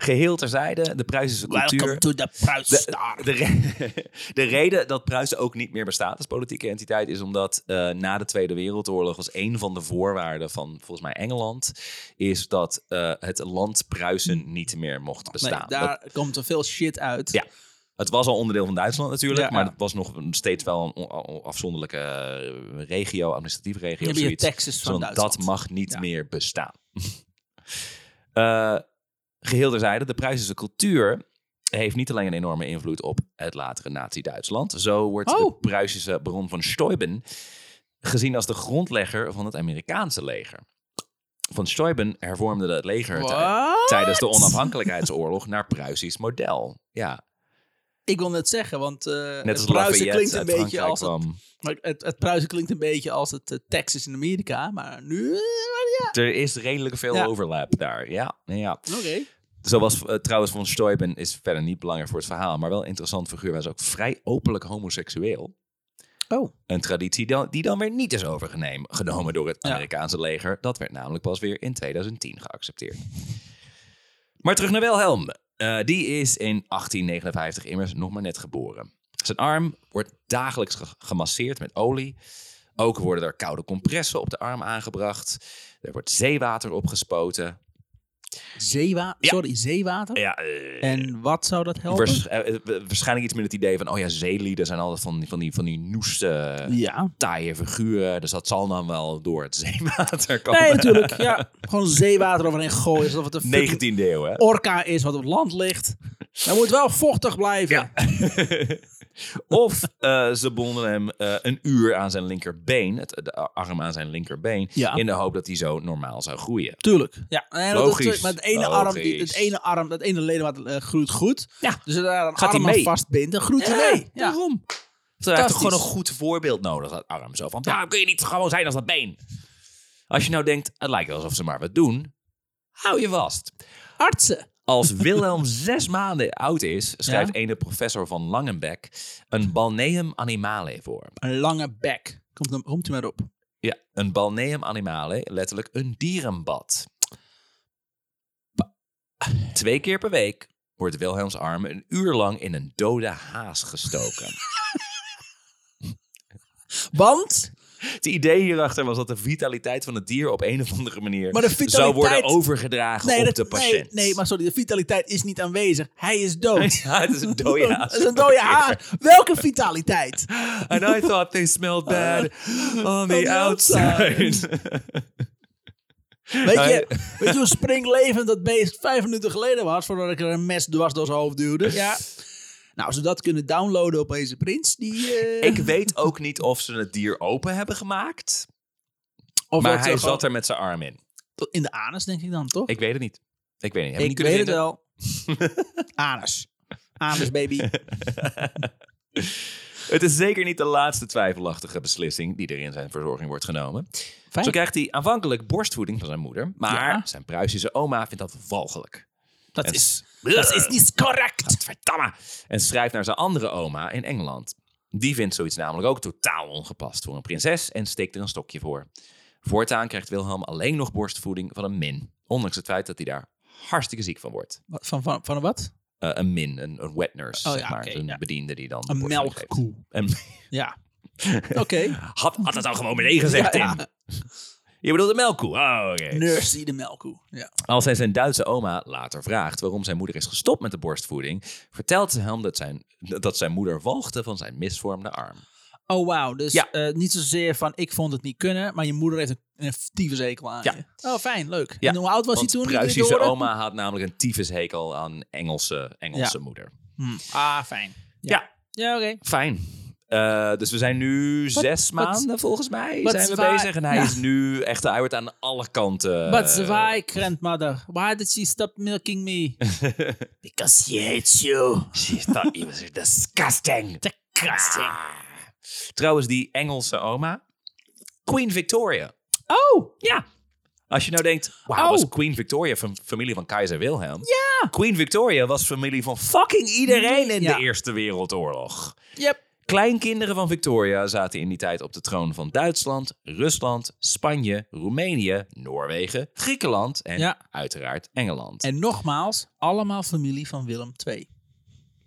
Speaker 2: Geheel terzijde, de Pruisische
Speaker 1: Welcome
Speaker 2: cultuur.
Speaker 1: to the
Speaker 2: De,
Speaker 1: Pruisstar.
Speaker 2: de, re- <laughs> de reden dat Pruisen ook niet meer bestaat als politieke entiteit is omdat eh, na de Tweede Wereldoorlog was een van de voorwaarden van volgens mij Engeland is dat eh, het land Pruisen niet meer mocht
Speaker 1: Nee,
Speaker 2: bestaan. Dat-
Speaker 1: daar komt er veel shit uit.
Speaker 2: Ja. Het was al onderdeel van Duitsland natuurlijk,
Speaker 1: Ja.
Speaker 2: maar het was nog steeds wel een on- on- afzonderlijke eh, regio, administratieve regio.
Speaker 1: Je hebt
Speaker 2: of
Speaker 1: hier
Speaker 2: zoiets.
Speaker 1: Texas van
Speaker 2: Zo'n
Speaker 1: Duitsland.
Speaker 2: dat mag niet
Speaker 1: Ja.
Speaker 2: meer bestaan. <laughs> Eh, geheel terzijde, de Pruisische cultuur heeft niet alleen een enorme invloed op het latere nazi-Duitsland. Zo wordt
Speaker 1: Oh.
Speaker 2: de Pruisische baron van Steuben gezien als de grondlegger van het Amerikaanse leger. Van Steuben hervormde het leger tij-
Speaker 1: What?
Speaker 2: tijdens de onafhankelijkheidsoorlog naar Pruisisch model. Ja,
Speaker 1: Ik wil net zeggen, want eh
Speaker 2: net als
Speaker 1: het Pruisen
Speaker 2: Lafayette
Speaker 1: klinkt een
Speaker 2: uit
Speaker 1: beetje
Speaker 2: Frankrijk
Speaker 1: als het,
Speaker 2: kwam.
Speaker 1: maar het, het Pruisen klinkt een beetje als het eh, Texas in Amerika, maar nu eh, ja.
Speaker 2: Er is redelijk veel
Speaker 1: Ja.
Speaker 2: overlap daar. Ja, ja.
Speaker 1: Oké.
Speaker 2: Zo was eh, trouwens Von Steuben is verder niet belangrijk voor het verhaal, maar wel een interessant figuur. Hij is ook vrij openlijk homoseksueel.
Speaker 1: Oh.
Speaker 2: Een traditie dan- die dan weer niet is overgenomen door het
Speaker 1: Ja.
Speaker 2: Amerikaanse leger. Dat werd namelijk pas weer in 2010 geaccepteerd. Maar terug naar Wilhelm. Eh, die is in 1859 immers nog maar net geboren. Zijn arm wordt dagelijks ge- gemasseerd met olie. Ook worden er koude compressen op de arm aangebracht. Er wordt zeewater opgespoten.
Speaker 1: Zeewa
Speaker 2: Ja.
Speaker 1: Sorry, zeewater?
Speaker 2: Ja, eh,
Speaker 1: En wat zou dat helpen?
Speaker 2: Waarsch- eh, eh, waarschijnlijk iets met het idee van, oh ja, zeelieden zijn altijd van, die- van die, van die noeste,
Speaker 1: ja.
Speaker 2: taaie figuren. Dus dat zal dan wel door het zeewater komen.
Speaker 1: Nee,
Speaker 2: <laughs>
Speaker 1: natuurlijk. Ja. Gewoon zeewater overheen gooien, alsof het een fucking
Speaker 2: 19e eeuw, hè?
Speaker 1: orka is wat op het land ligt. Hij moet wel vochtig blijven.
Speaker 2: Ja. Of eh, ze bonden hem eh, een uur aan zijn linkerbeen, het, de arm aan zijn linkerbeen,
Speaker 1: Ja.
Speaker 2: in de hoop dat hij zo normaal zou groeien.
Speaker 1: Tuurlijk. Ja. Nee, dat-
Speaker 2: Logisch.
Speaker 1: Dat, maar het ene arm, die- het
Speaker 2: Logisch.
Speaker 1: ene arm, dat ene ledemaat eh, groeit goed.
Speaker 2: Ja.
Speaker 1: Dus als je daar een
Speaker 2: Gaat hij
Speaker 1: arm aan
Speaker 2: mee?
Speaker 1: vastbindt, dan groeit hij mee. Ja.
Speaker 2: daarom. Ze hebben toch
Speaker 1: Fantastisch.
Speaker 2: gewoon een goed voorbeeld nodig, dat arm. Zo van, waarom kun je niet gewoon zijn als dat been? Als je nou denkt, het lijkt wel alsof ze maar wat doen, hou je vast.
Speaker 1: Artsen.
Speaker 2: <laughs> Als Wilhelm zes maanden oud is, schrijft ene professor van Langenbeck een balneum animale voor.
Speaker 1: Een lange bek. Komt, hem- komt hij maar op.
Speaker 2: Ja, een balneum animale, letterlijk een dierenbad. Twee keer per week wordt Wilhelms arm een uur lang in een dode haas gestoken.
Speaker 1: Want,
Speaker 2: <laughs> Het idee hierachter was dat de vitaliteit van het dier op een of andere manier
Speaker 1: Maar de
Speaker 2: zou worden
Speaker 1: vitaliteit-
Speaker 2: overgedragen
Speaker 1: nee,
Speaker 2: op
Speaker 1: dat,
Speaker 2: de
Speaker 1: nee,
Speaker 2: patiënt.
Speaker 1: nee,
Speaker 2: <laughs>
Speaker 1: maar sorry, de vitaliteit is niet aanwezig. Hij is dood.
Speaker 2: Ja, <laughs> het is een dode haas.
Speaker 1: Dat is een dode haas. Welke vitaliteit?
Speaker 2: And I thought they smelled <laughs> bad Uh, on
Speaker 1: the
Speaker 2: the outside.
Speaker 1: Weet
Speaker 2: Nou,
Speaker 1: je, <laughs> weet je hoe springlevend dat beest vijf minuten geleden was... voordat ik er een mes dwars door zijn hoofd duwde? Ja. Nou, als we dat kunnen downloaden op deze prins, die... eh,
Speaker 2: Ik weet ook niet of ze het dier open hebben gemaakt.
Speaker 1: of
Speaker 2: maar
Speaker 1: dat,
Speaker 2: hij
Speaker 1: eh,
Speaker 2: zat er met zijn arm in.
Speaker 1: gewoon In de anus, denk ik dan, toch?
Speaker 2: Ik weet het niet. Ik weet het niet. Hebben we
Speaker 1: Ik weet
Speaker 2: niet kunnen
Speaker 1: het
Speaker 2: vinden?
Speaker 1: wel. <laughs> anus. Anus, <laughs> baby.
Speaker 2: Het is zeker niet de laatste twijfelachtige beslissing die er in zijn verzorging wordt genomen.
Speaker 1: Fijn.
Speaker 2: Zo krijgt hij aanvankelijk borstvoeding van zijn moeder. Maar
Speaker 1: Ja.
Speaker 2: zijn Pruisische oma vindt dat walgelijk.
Speaker 1: Dat
Speaker 2: En-
Speaker 1: is, dat is niet correct.
Speaker 2: Godverdamme. En schrijft naar zijn andere oma in Engeland. Die vindt zoiets namelijk ook totaal ongepast voor een prinses en steekt er een stokje voor. Voortaan krijgt Wilhelm alleen nog borstvoeding van een min. Ondanks het feit dat hij daar hartstikke ziek van wordt.
Speaker 1: Wat- Van, van, van een wat?
Speaker 2: Eh, een min, een, een wet nurse,
Speaker 1: Oh
Speaker 2: zeg
Speaker 1: ja,
Speaker 2: maar.
Speaker 1: oké,
Speaker 2: een
Speaker 1: ja.
Speaker 2: bediende die dan...
Speaker 1: Een
Speaker 2: borstvoeding geeft.
Speaker 1: melkkoe.
Speaker 2: Een-
Speaker 1: <laughs> Ja. Oké.
Speaker 2: had, had het dan gewoon meteen gezegd,
Speaker 1: Ja,
Speaker 2: Tim. Je bedoelt de melkkoe. Ah, oké.
Speaker 1: Nurse de melkkoe. Ja.
Speaker 2: Als hij zijn Duitse oma later vraagt waarom zijn moeder is gestopt met de borstvoeding, vertelt ze hem dat zijn, dat zijn moeder walgde van zijn misvormde arm.
Speaker 1: Oh, wauw. Dus
Speaker 2: Ja.
Speaker 1: eh, niet zozeer van ik vond het niet kunnen, maar je moeder heeft een, een tyfushekel aan
Speaker 2: Ja.
Speaker 1: je. Oh, fijn. Leuk.
Speaker 2: Ja.
Speaker 1: En hoe oud was
Speaker 2: Want
Speaker 1: hij toen? die dit
Speaker 2: Pruisische
Speaker 1: hoorde?
Speaker 2: oma had namelijk een tyfushekel aan Engelse, Engelse moeder.
Speaker 1: Hm. Ah, fijn.
Speaker 2: Ja.
Speaker 1: Ja, oké.
Speaker 2: Fijn. Eh, dus we zijn nu zes
Speaker 1: wat-
Speaker 2: maanden volgens mij
Speaker 1: wat
Speaker 2: zijn we
Speaker 1: zwaar-
Speaker 2: bezig. En hij
Speaker 1: Ja.
Speaker 2: is nu echt, hij wordt aan alle kanten...
Speaker 1: But why, grandmother? Why did she stop milking
Speaker 2: <laughs>
Speaker 1: me? Because she hates you.
Speaker 2: She thought he was
Speaker 1: <laughs>
Speaker 2: disgusting.
Speaker 1: Disgusting.
Speaker 2: Trouwens, die Engelse oma. Queen Victoria.
Speaker 1: Oh,
Speaker 2: Ja. Als je nou denkt, wauw,
Speaker 1: Oh.
Speaker 2: was Queen Victoria van familie van keizer Wilhelm? Ja. Queen Victoria was familie van fucking iedereen in
Speaker 1: Ja.
Speaker 2: de Eerste Wereldoorlog.
Speaker 1: yep.
Speaker 2: Kleinkinderen van Victoria zaten in die tijd op de troon van Duitsland, Rusland, Spanje, Roemenië, Noorwegen, Griekenland en
Speaker 1: Ja.
Speaker 2: uiteraard Engeland.
Speaker 1: En nogmaals, allemaal familie van Willem II.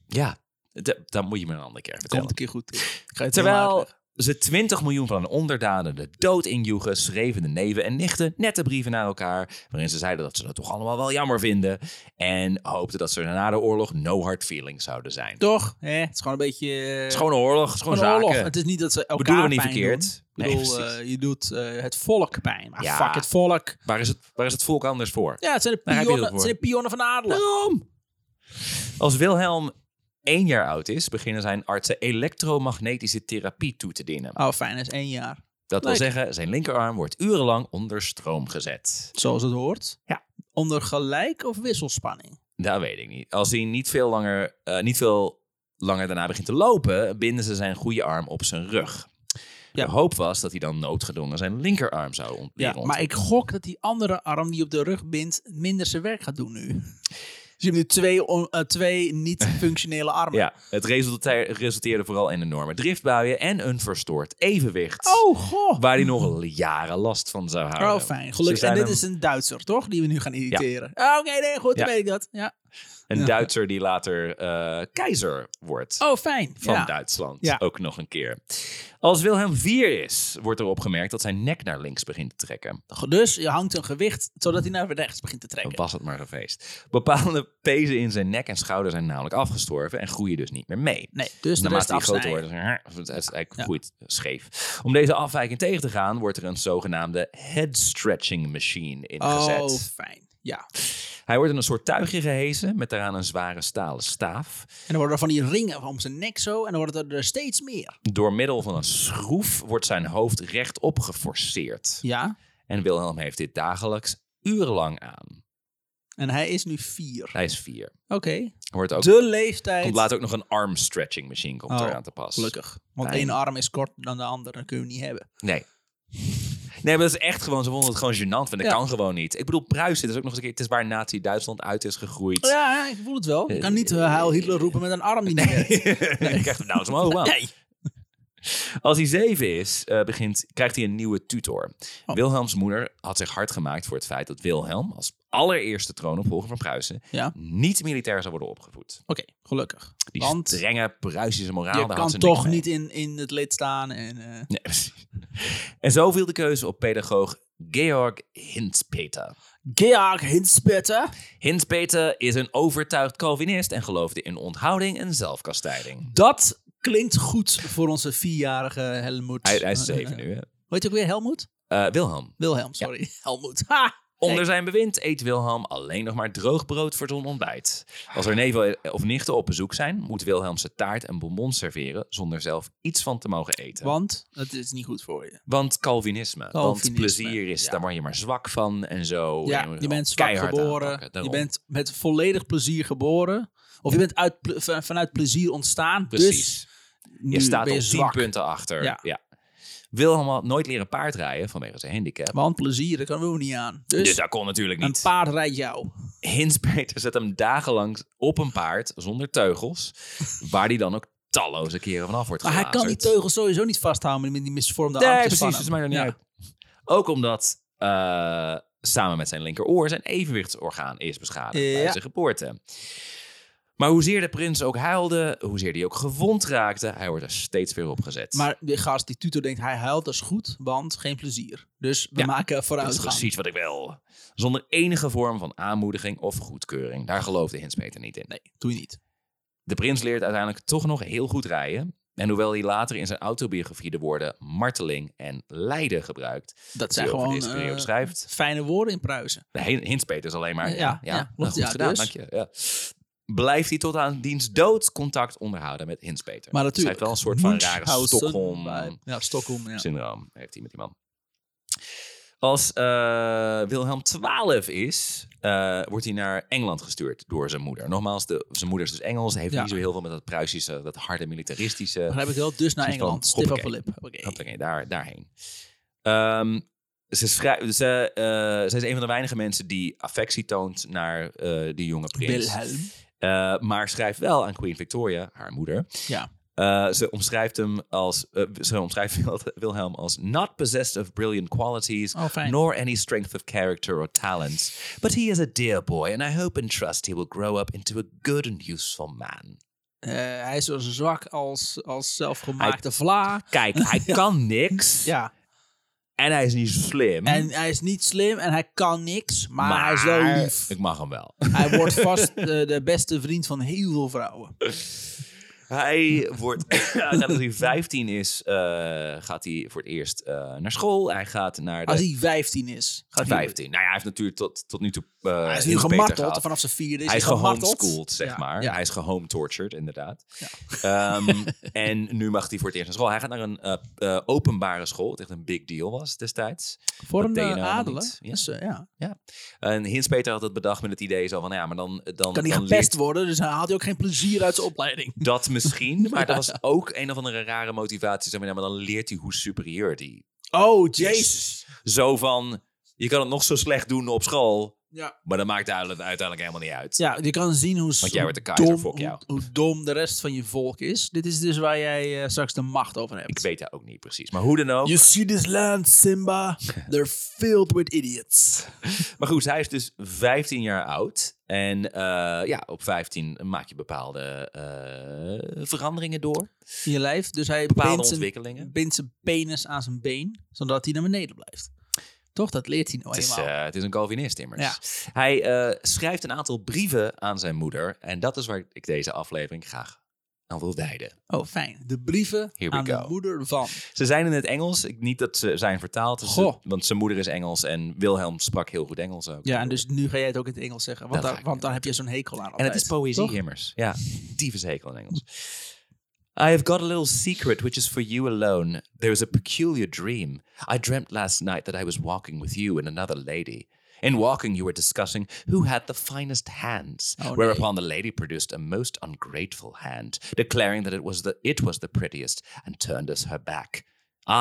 Speaker 2: ja, d- dat moet je me een andere keer vertellen.
Speaker 1: Komt een keer goed. Ik ga het helemaal
Speaker 2: Terwijl
Speaker 1: uitleggen.
Speaker 2: ze 20 miljoen van hun onderdanen de dood injoegen, schreven de neven en nichten nette brieven naar elkaar, waarin ze zeiden dat ze dat toch allemaal wel jammer vinden en hoopten dat ze na de oorlog no hard feelings zouden zijn.
Speaker 1: Toch? Hè? Het is gewoon een beetje... eh,
Speaker 2: Het is gewoon een oorlog, het is gewoon
Speaker 1: een
Speaker 2: zaken.
Speaker 1: oorlog. Het is niet dat ze elkaar
Speaker 2: Bedoelen we niet
Speaker 1: pijn
Speaker 2: verkeerd.
Speaker 1: doen. Ik
Speaker 2: Nee,
Speaker 1: bedoel,
Speaker 2: precies.
Speaker 1: eh, je doet eh, het volk pijn. Maar
Speaker 2: Ja.
Speaker 1: fuck het volk.
Speaker 2: Waar, is het, waar is het volk anders voor?
Speaker 1: Ja, het zijn de
Speaker 2: Daar heb je
Speaker 1: pionnen, het
Speaker 2: het voor.
Speaker 1: zijn de pionnen van de adelen.
Speaker 2: Waarom? Nou. Als Wilhelm één jaar oud is, beginnen zijn artsen elektromagnetische therapie toe te dienen.
Speaker 1: Oh, fijn. Dat is één jaar.
Speaker 2: Dat wil
Speaker 1: leuk.
Speaker 2: zeggen, zijn linkerarm wordt urenlang onder stroom gezet.
Speaker 1: Zoals het hoort.
Speaker 2: Ja.
Speaker 1: Onder gelijk of wisselspanning?
Speaker 2: Dat weet ik niet. Als hij niet veel langer, eh, niet veel langer daarna begint te lopen, binden ze zijn goede arm op zijn rug.
Speaker 1: Ja.
Speaker 2: De hoop was dat hij dan noodgedwongen zijn linkerarm zou ont-
Speaker 1: Ja,
Speaker 2: leren
Speaker 1: maar
Speaker 2: ontwikkelen.
Speaker 1: ik gok dat die andere arm die op de rug bindt minder zijn werk gaat doen nu. <laughs> Dus je hebt nu twee, on- eh, twee niet-functionele armen.
Speaker 2: Ja, het resulteer- resulteerde vooral in enorme driftbuien en een verstoord evenwicht.
Speaker 1: Oh, goh.
Speaker 2: Waar hij nog al jaren last van zou houden.
Speaker 1: Oh, fijn.
Speaker 2: Ze
Speaker 1: Gelukkig.
Speaker 2: zijn
Speaker 1: En dit
Speaker 2: hem-
Speaker 1: is een Duitser, toch? Die we nu gaan irriteren. Ah, Oké, nee, goed. Dan
Speaker 2: Ja.
Speaker 1: weet ik dat. Ja.
Speaker 2: Een Duitser die later eh, keizer wordt
Speaker 1: Oh, fijn.
Speaker 2: van
Speaker 1: ja.
Speaker 2: Duitsland.
Speaker 1: Ja.
Speaker 2: Ook nog een keer. Als Wilhelm IV is, wordt er opgemerkt dat zijn nek naar links begint te trekken.
Speaker 1: Dus je hangt een gewicht zodat hij naar rechts begint te trekken.
Speaker 2: Was het maar gefeest. Bepaalde pezen in zijn nek en schouder zijn namelijk afgestorven en groeien dus niet meer mee.
Speaker 1: Nee, dus de rest
Speaker 2: Naarmate die groter
Speaker 1: afsnijden.
Speaker 2: wordt, het is eigenlijk
Speaker 1: Ja.
Speaker 2: groeit scheef. Om deze afwijking tegen te gaan, wordt er een zogenaamde head stretching machine ingezet.
Speaker 1: Oh, fijn. Ja.
Speaker 2: Hij wordt in een soort tuigje gehesen met daaraan een zware stalen staaf.
Speaker 1: En dan worden er van die ringen om zijn nek zo. En dan worden er steeds meer.
Speaker 2: Door middel van een schroef wordt zijn hoofd rechtop geforceerd.
Speaker 1: Ja.
Speaker 2: En Wilhelm heeft dit dagelijks urenlang aan.
Speaker 1: En hij is nu vier.
Speaker 2: Hij is vier.
Speaker 1: Oké.
Speaker 2: Wordt ook,
Speaker 1: De leeftijd.
Speaker 2: komt later ook nog een arm stretching machine komt
Speaker 1: Oh,
Speaker 2: eraan te pas.
Speaker 1: Gelukkig. Want
Speaker 2: Fijn.
Speaker 1: één arm is korter dan de andere. Dat kunnen we niet hebben.
Speaker 2: Nee. Nee, maar dat is echt gewoon, ze vonden het gewoon gênant. Van, dat
Speaker 1: Ja.
Speaker 2: kan gewoon niet. Ik bedoel, Pruisen, dat is ook nog eens een keer, het is waar Nazi-Duitsland uit is gegroeid. <laughs>
Speaker 1: Ja, ik voel het wel. Je kan niet eh, Heil Hitler roepen met een arm die niet werkt.
Speaker 2: Je krijgt hem nou eens omhoog. man.
Speaker 1: <laughs> Nee.
Speaker 2: Als hij zeven is, eh, begint, krijgt hij een nieuwe tutor.
Speaker 1: Oh.
Speaker 2: Wilhelms moeder had zich hard gemaakt voor het feit dat Wilhelm als allereerste troonopvolger van Pruisen
Speaker 1: Ja.
Speaker 2: niet militair zou worden opgevoed.
Speaker 1: Oké, gelukkig.
Speaker 2: Die
Speaker 1: Want
Speaker 2: strenge Pruisische moraal,
Speaker 1: je
Speaker 2: daar had
Speaker 1: kan
Speaker 2: ze niks
Speaker 1: toch
Speaker 2: mee.
Speaker 1: niet in, in het lid staan. En, eh,
Speaker 2: Nee, precies. En zo viel de keuze op pedagoog Georg Hinspeter.
Speaker 1: Georg Hinspetter.
Speaker 2: Hinspeter is een overtuigd Calvinist en geloofde in onthouding en zelfkastijding.
Speaker 1: Dat klinkt goed voor onze vierjarige Helmoet.
Speaker 2: Hij, hij is zeven nu, hè?
Speaker 1: Weet je ook weer Helmoet?
Speaker 2: Eh, Wilhelm.
Speaker 1: Wilhelm, sorry. <laughs> Helmoet. Ha!
Speaker 2: Onder zijn bewind eet Wilhelm alleen nog maar droog brood voor zijn ontbijt. Als er neven eh, of nichten op bezoek zijn, moet Wilhelm zijn taart en bonbons serveren zonder zelf iets van te mogen eten.
Speaker 1: Want dat is niet goed voor je.
Speaker 2: Want Calvinisme. Want
Speaker 1: Calvinisme,
Speaker 2: plezier is,
Speaker 1: ja.
Speaker 2: daar word je maar zwak van en zo. En
Speaker 1: Ja,
Speaker 2: moet
Speaker 1: je
Speaker 2: gewoon
Speaker 1: bent zwak
Speaker 2: keihard
Speaker 1: geboren.
Speaker 2: aanpakken.
Speaker 1: Je
Speaker 2: Daarom.
Speaker 1: bent met volledig plezier geboren. Of je bent uit, ple- van- vanuit plezier ontstaan.
Speaker 2: Precies.
Speaker 1: Dus
Speaker 2: Je
Speaker 1: nu
Speaker 2: staat
Speaker 1: ben
Speaker 2: al
Speaker 1: je
Speaker 2: 10
Speaker 1: zwak.
Speaker 2: punten achter. Ja.
Speaker 1: Ja.
Speaker 2: Wilhelm had nooit leren paardrijden vanwege zijn handicap.
Speaker 1: Want plezier, daar kunnen we ook niet aan. Dus,
Speaker 2: Dus, dat kon natuurlijk
Speaker 1: een
Speaker 2: niet.
Speaker 1: paard rijdt jou.
Speaker 2: Hinspeter zet hem dagenlang op een paard zonder teugels. waar hij dan ook talloze keren vanaf wordt
Speaker 1: Maar hij kan die
Speaker 2: gelazerd.
Speaker 1: teugels sowieso niet vasthouden met die misvormde
Speaker 2: Nee,
Speaker 1: armpjes
Speaker 2: precies.
Speaker 1: van
Speaker 2: Dat is
Speaker 1: hem.
Speaker 2: mij er niet
Speaker 1: Ja.
Speaker 2: uit. Ook omdat eh, samen met zijn linkeroor zijn evenwichtsorgaan is beschadigd bij
Speaker 1: Ja.
Speaker 2: zijn geboorte. Maar hoezeer de prins ook huilde, hoezeer die ook gewond raakte, hij wordt er steeds weer op gezet.
Speaker 1: Maar de gast, die tutor, denkt hij huilt, dat is goed, want geen plezier. Dus we
Speaker 2: Ja,
Speaker 1: maken
Speaker 2: dat is
Speaker 1: vooruitgang.
Speaker 2: precies wat ik wil. Zonder enige vorm van aanmoediging of goedkeuring. Daar geloofde Hins Peter niet in.
Speaker 1: Nee, doe je niet.
Speaker 2: De prins leert uiteindelijk toch nog heel goed rijden. En hoewel hij later in zijn autobiografie de woorden marteling en lijden gebruikt,
Speaker 1: Dat
Speaker 2: die
Speaker 1: zijn
Speaker 2: hij over
Speaker 1: gewoon
Speaker 2: deze periode
Speaker 1: eh,
Speaker 2: schrijft.
Speaker 1: fijne woorden in Pruisen.
Speaker 2: Hin- Hinspeet is alleen maar.
Speaker 1: Ja,
Speaker 2: Ja,
Speaker 1: ja,
Speaker 2: ja,
Speaker 1: klopt.
Speaker 2: Nou, goed
Speaker 1: Ja,
Speaker 2: gedaan,
Speaker 1: dus.
Speaker 2: dank je. Ja. Blijft hij tot aan diens dood contact onderhouden met Hinspeter.
Speaker 1: Maar natuurlijk.
Speaker 2: Hij heeft wel een soort van rare
Speaker 1: Munchausen
Speaker 2: Stockholm
Speaker 1: bij- Ja, Stockholm, ja.
Speaker 2: syndroom heeft hij met die man. Als eh, Wilhelm 12 is, eh, wordt hij naar Engeland gestuurd door zijn moeder. Nogmaals, de, zijn moeder is dus Engels, heeft
Speaker 1: Ja.
Speaker 2: niet zo heel veel met dat Pruisische, dat harde militaristische.
Speaker 1: Begrijp ik wel. Dus naar
Speaker 2: Soort van,
Speaker 1: Engeland. Stip op
Speaker 2: hoppakee.
Speaker 1: de lip. Hoppakee.
Speaker 2: Dat er- daar, daarheen. Ehm, ze, schrijft, ze, eh, zij is een van de weinige mensen die affectie toont naar eh, die jonge prins.
Speaker 1: Wilhelm.
Speaker 2: Eh, maar schrijft wel aan Queen Victoria, haar moeder.
Speaker 1: Ja.
Speaker 2: Eh, ze omschrijft hem als, eh, ze omschrijft Wil- Wilhelm als not possessed of brilliant qualities,
Speaker 1: Oh, fijn.
Speaker 2: nor any strength of character or talents. But he is a dear boy, and I hope and trust he will grow up into a good and useful man.
Speaker 1: Eh, hij is zo zwak als, als zelfgemaakte vla.
Speaker 2: Kijk,
Speaker 1: <laughs>
Speaker 2: hij kan niks
Speaker 1: Ja.
Speaker 2: en hij is niet slim.
Speaker 1: En hij is niet slim en hij kan niks, maar, hij is wel
Speaker 2: maar <laughs>
Speaker 1: lief.
Speaker 2: Ik mag hem wel.
Speaker 1: Hij wordt vast de, de beste vriend van heel veel vrouwen.
Speaker 2: Hij wordt, <laughs> hij gaat, als hij 15 is, eh, gaat hij voor het eerst eh, naar school. Hij gaat naar de
Speaker 1: Als hij 15 is, gaat hij...
Speaker 2: 15. Nou ja, hij heeft natuurlijk tot, tot nu toe. eh,
Speaker 1: Hij is nu
Speaker 2: heel beter
Speaker 1: gemarteld,
Speaker 2: gehad.
Speaker 1: vanaf zijn vierde is
Speaker 2: Hij
Speaker 1: hij
Speaker 2: is
Speaker 1: gemarteld.
Speaker 2: gehomeschoold, zeg
Speaker 1: Ja,
Speaker 2: maar.
Speaker 1: ja.
Speaker 2: Hij is gehometortured, inderdaad. Ehm, <laughs> en nu mag hij voor het eerst naar school. Hij gaat naar een eh, eh, openbare school, wat echt een big deal was destijds.
Speaker 1: Voor
Speaker 2: Dat
Speaker 1: een
Speaker 2: deed je
Speaker 1: eh,
Speaker 2: nou helemaal
Speaker 1: adelen.
Speaker 2: niet. Ja.
Speaker 1: Dus, eh, ja.
Speaker 2: En Hinspeter had het bedacht met het idee zo van, nou ja, maar dan... dan
Speaker 1: Kan hij
Speaker 2: dan
Speaker 1: gepest
Speaker 2: leert
Speaker 1: worden, dus hij haalt hij ook geen plezier uit zijn opleiding.
Speaker 2: Dat misschien, maar dat was ook een of andere rare motivatie. Zo van, ja, maar dan leert hij hoe superieur die.
Speaker 1: Oh, jezus.
Speaker 2: Zo van, je kan het nog zo slecht doen op school,
Speaker 1: Ja.
Speaker 2: maar dat maakt uiteindelijk uiteindelijk helemaal niet uit.
Speaker 1: ja, je kan zien hoe,
Speaker 2: Want jij wordt de
Speaker 1: hoe
Speaker 2: keizer,
Speaker 1: dom,
Speaker 2: fok jou.
Speaker 1: hoe, hoe dom de rest van je volk is. Dit is dus waar jij eh, straks de macht over hebt.
Speaker 2: Ik weet dat ook niet precies, maar hoe dan ook.
Speaker 1: You see this land,
Speaker 2: <laughs>
Speaker 1: Simba? They're filled with idiots.
Speaker 2: Maar goed, hij is dus 15 jaar oud. En eh, ja, op 15 maak je bepaalde eh, veranderingen door.
Speaker 1: In je lijf, dus hij
Speaker 2: Bepaalde
Speaker 1: bindt zijn,
Speaker 2: ontwikkelingen.
Speaker 1: bindt zijn penis aan zijn been, zodat hij naar beneden blijft. Toch, dat leert hij nou
Speaker 2: Het is,
Speaker 1: eenmaal.
Speaker 2: eh, het is een Calvinist immers. Hij eh, schrijft een aantal brieven aan zijn moeder. En dat is waar ik deze aflevering graag aan wil wijden.
Speaker 1: Oh, fijn. De brieven
Speaker 2: Here we
Speaker 1: aan de
Speaker 2: go.
Speaker 1: moeder van.
Speaker 2: Ze zijn in het Engels. Ik, niet dat ze zijn vertaald. Dus ze-
Speaker 1: Goh.
Speaker 2: want zijn moeder is Engels en Wilhelm sprak heel goed Engels ook.
Speaker 1: Ja, en dus nu ga jij het ook in het Engels zeggen, want,
Speaker 2: Dat
Speaker 1: daar-
Speaker 2: ga ik
Speaker 1: want daar heb je zo'n hekel aan.
Speaker 2: En
Speaker 1: altijd,
Speaker 2: het is poëzie
Speaker 1: toch?
Speaker 2: immers. Ja, tyfus hekel in Engels. I have got a little secret which is for you alone. There is a peculiar dream. I dreamt last night that I was walking with you and another lady. In walking, you were discussing who had the finest hands.
Speaker 1: Oh, nee.
Speaker 2: whereupon the lady produced a most ungrateful hand, declaring that it was the it was the prettiest, and turned us her back.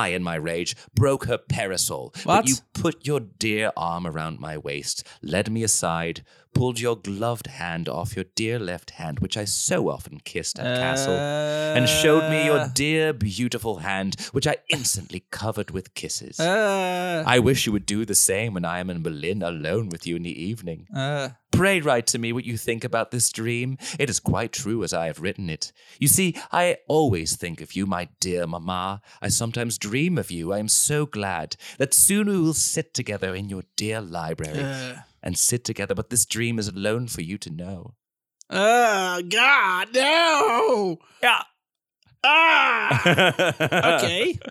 Speaker 2: I, in my rage, broke her parasol.
Speaker 1: What?
Speaker 2: But you put your dear arm around my waist, led me aside, pulled your gloved hand off your dear left hand, which I so often kissed
Speaker 1: Eh,
Speaker 2: at Castle, and showed me
Speaker 1: Uh.
Speaker 2: your dear, beautiful hand, which I instantly covered with kisses.
Speaker 1: Eh,
Speaker 2: I wish you would do the same when I am in Berlin alone with you in the evening.
Speaker 1: eh.
Speaker 2: Pray write to me what you think about this dream. It is quite true as I have written it. You see, I always think of you, my dear mamma. I sometimes dream of you. I am so glad that soon we will sit together in your dear library
Speaker 1: Eh.
Speaker 2: and sit together, but this dream is alone for you to know.
Speaker 1: Ah, God, no!
Speaker 2: Ja.
Speaker 1: Ah!
Speaker 2: <laughs>
Speaker 1: Oké. <laughs>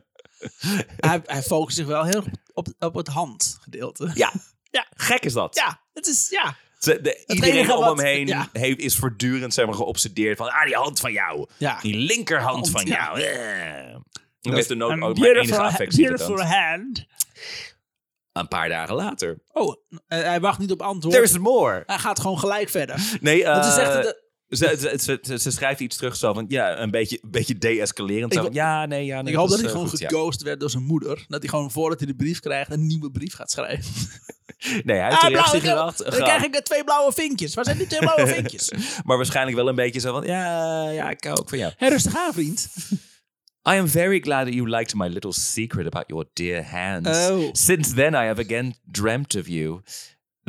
Speaker 1: hij, hij focust zich wel heel erg op, op, op het handgedeelte.
Speaker 2: Ja. ja, gek is dat.
Speaker 1: Ja, het is, ja.
Speaker 2: Ze- de-
Speaker 1: enige
Speaker 2: iedereen om
Speaker 1: wat-
Speaker 2: hem heen
Speaker 1: ja.
Speaker 2: heeft, is voortdurend zeg maar, geobsedeerd van ah, die hand van jou.
Speaker 1: Ja.
Speaker 2: Die linkerhand
Speaker 1: Hand,
Speaker 2: van
Speaker 1: ja.
Speaker 2: jou. Eh. Ik heb er nooit
Speaker 1: Een
Speaker 2: ook maar
Speaker 1: beautiful
Speaker 2: enige
Speaker 1: ha-
Speaker 2: affectie
Speaker 1: beautiful
Speaker 2: getoond.
Speaker 1: hand.
Speaker 2: Een paar dagen later.
Speaker 1: Oh, eh, hij wacht niet op antwoord.
Speaker 2: There's more.
Speaker 1: Hij gaat gewoon gelijk verder.
Speaker 2: Nee,
Speaker 1: Dat is
Speaker 2: eh,
Speaker 1: echt... de-
Speaker 2: ze, ze, ze, ze- ze schrijft iets terug zo van, ja, een beetje, een beetje de-escalerend. Zo
Speaker 1: Ik
Speaker 2: van, ja, nee, ja, nee.
Speaker 1: ik hoop dat
Speaker 2: is,
Speaker 1: hij
Speaker 2: eh,
Speaker 1: gewoon
Speaker 2: goed, ja.
Speaker 1: geghost werd door zijn moeder. Dat hij gewoon voordat hij de brief krijgt een nieuwe brief gaat schrijven.
Speaker 2: Nee, hij heeft
Speaker 1: Ah,
Speaker 2: er echt
Speaker 1: blauwe-
Speaker 2: zich gedacht.
Speaker 1: Dan
Speaker 2: gehad.
Speaker 1: krijg ik eh, twee blauwe vinkjes. Waar zijn die twee
Speaker 2: <laughs>
Speaker 1: blauwe vinkjes?
Speaker 2: Maar waarschijnlijk wel een beetje zo van, ja, ja, ik hou ook van jou.
Speaker 1: Hey, rustig aan, vriend.
Speaker 2: I am very glad that you liked my little secret about your dear hands.
Speaker 1: Oh.
Speaker 2: Since then, I have again dreamt of you.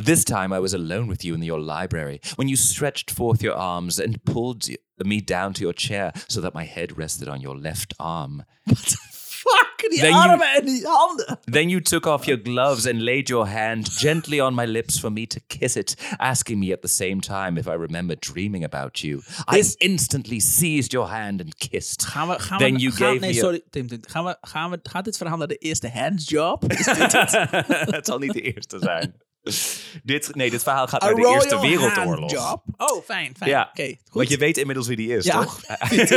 Speaker 2: This time I was alone with you in your library, when you stretched forth your arms and pulled y- me down to your chair so that my head rested on your left arm.
Speaker 1: What the fuck? Die
Speaker 2: Then you-
Speaker 1: armen en die handen.
Speaker 2: Then you took off your gloves and laid your hand gently on my lips for me to kiss it, asking me at the same time if I remembered dreaming about you. I instantly seized your hand and kissed.
Speaker 1: Gaan we, gaan
Speaker 2: Then
Speaker 1: we,
Speaker 2: you
Speaker 1: gaan-
Speaker 2: gave
Speaker 1: nee,
Speaker 2: me a-
Speaker 1: sorry, Tim, Tim. Gaan we, gaan we, gaat dit verhaal naar de eerste handjob?
Speaker 2: <laughs>
Speaker 1: Is dit
Speaker 2: Het zal niet de eerste zijn. dit, nee, dit verhaal gaat naar de Eerste
Speaker 1: royal
Speaker 2: Wereldoorlog.
Speaker 1: handjob? Oh, fijn, fijn.
Speaker 2: Ja,
Speaker 1: Oké, goed.
Speaker 2: Want je weet inmiddels wie die is,
Speaker 1: Ja. <laughs>
Speaker 2: toch? <laughs>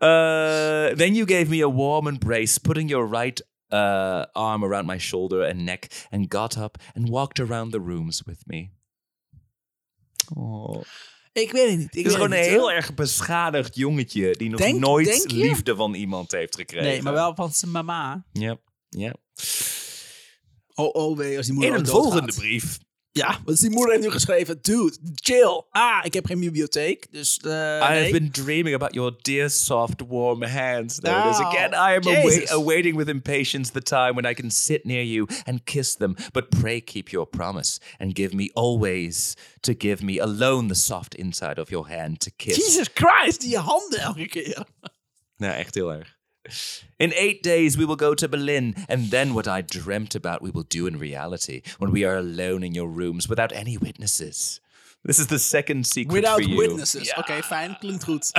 Speaker 2: Uh, then you gave me a warm embrace, putting your right uh, arm around my shoulder and neck, and got up and walked around the rooms with me. Oh.
Speaker 1: Ik weet het niet. Ik weet
Speaker 2: Het is gewoon een
Speaker 1: het niet,
Speaker 2: heel
Speaker 1: hoor.
Speaker 2: erg beschadigd jongetje die nog
Speaker 1: Denk-
Speaker 2: nooit
Speaker 1: denk je?
Speaker 2: liefde van iemand heeft gekregen.
Speaker 1: Nee, maar wel van zijn mama.
Speaker 2: Ja, ja.
Speaker 1: Oh, oh, wee, als die moeder
Speaker 2: In een
Speaker 1: ooit doodgaat.
Speaker 2: volgende brief.
Speaker 1: Ja, want die moeder heeft nu geschreven, dude, chill. Ah, ik heb geen bibliotheek, dus eh
Speaker 2: I have
Speaker 1: nee.
Speaker 2: been dreaming about your dear, soft, warm hands. There it is
Speaker 1: Oh,
Speaker 2: again. I am awa-
Speaker 1: Jesus.
Speaker 2: awaiting with impatience the time when I can sit near you and kiss them. But pray keep your promise and give me always to give me alone the soft inside of your hand to kiss.
Speaker 1: Jesus Christ, die handen elke keer.
Speaker 2: Nou, echt heel erg. In eight days we will go to Berlin, and then what I dreamt about we will do in reality when we are alone in your rooms without any witnesses. This is the second secret
Speaker 1: Without
Speaker 2: for you.
Speaker 1: witnesses.
Speaker 2: Ja.
Speaker 1: Oké, fijn, klinkt
Speaker 2: <laughs>
Speaker 1: goed.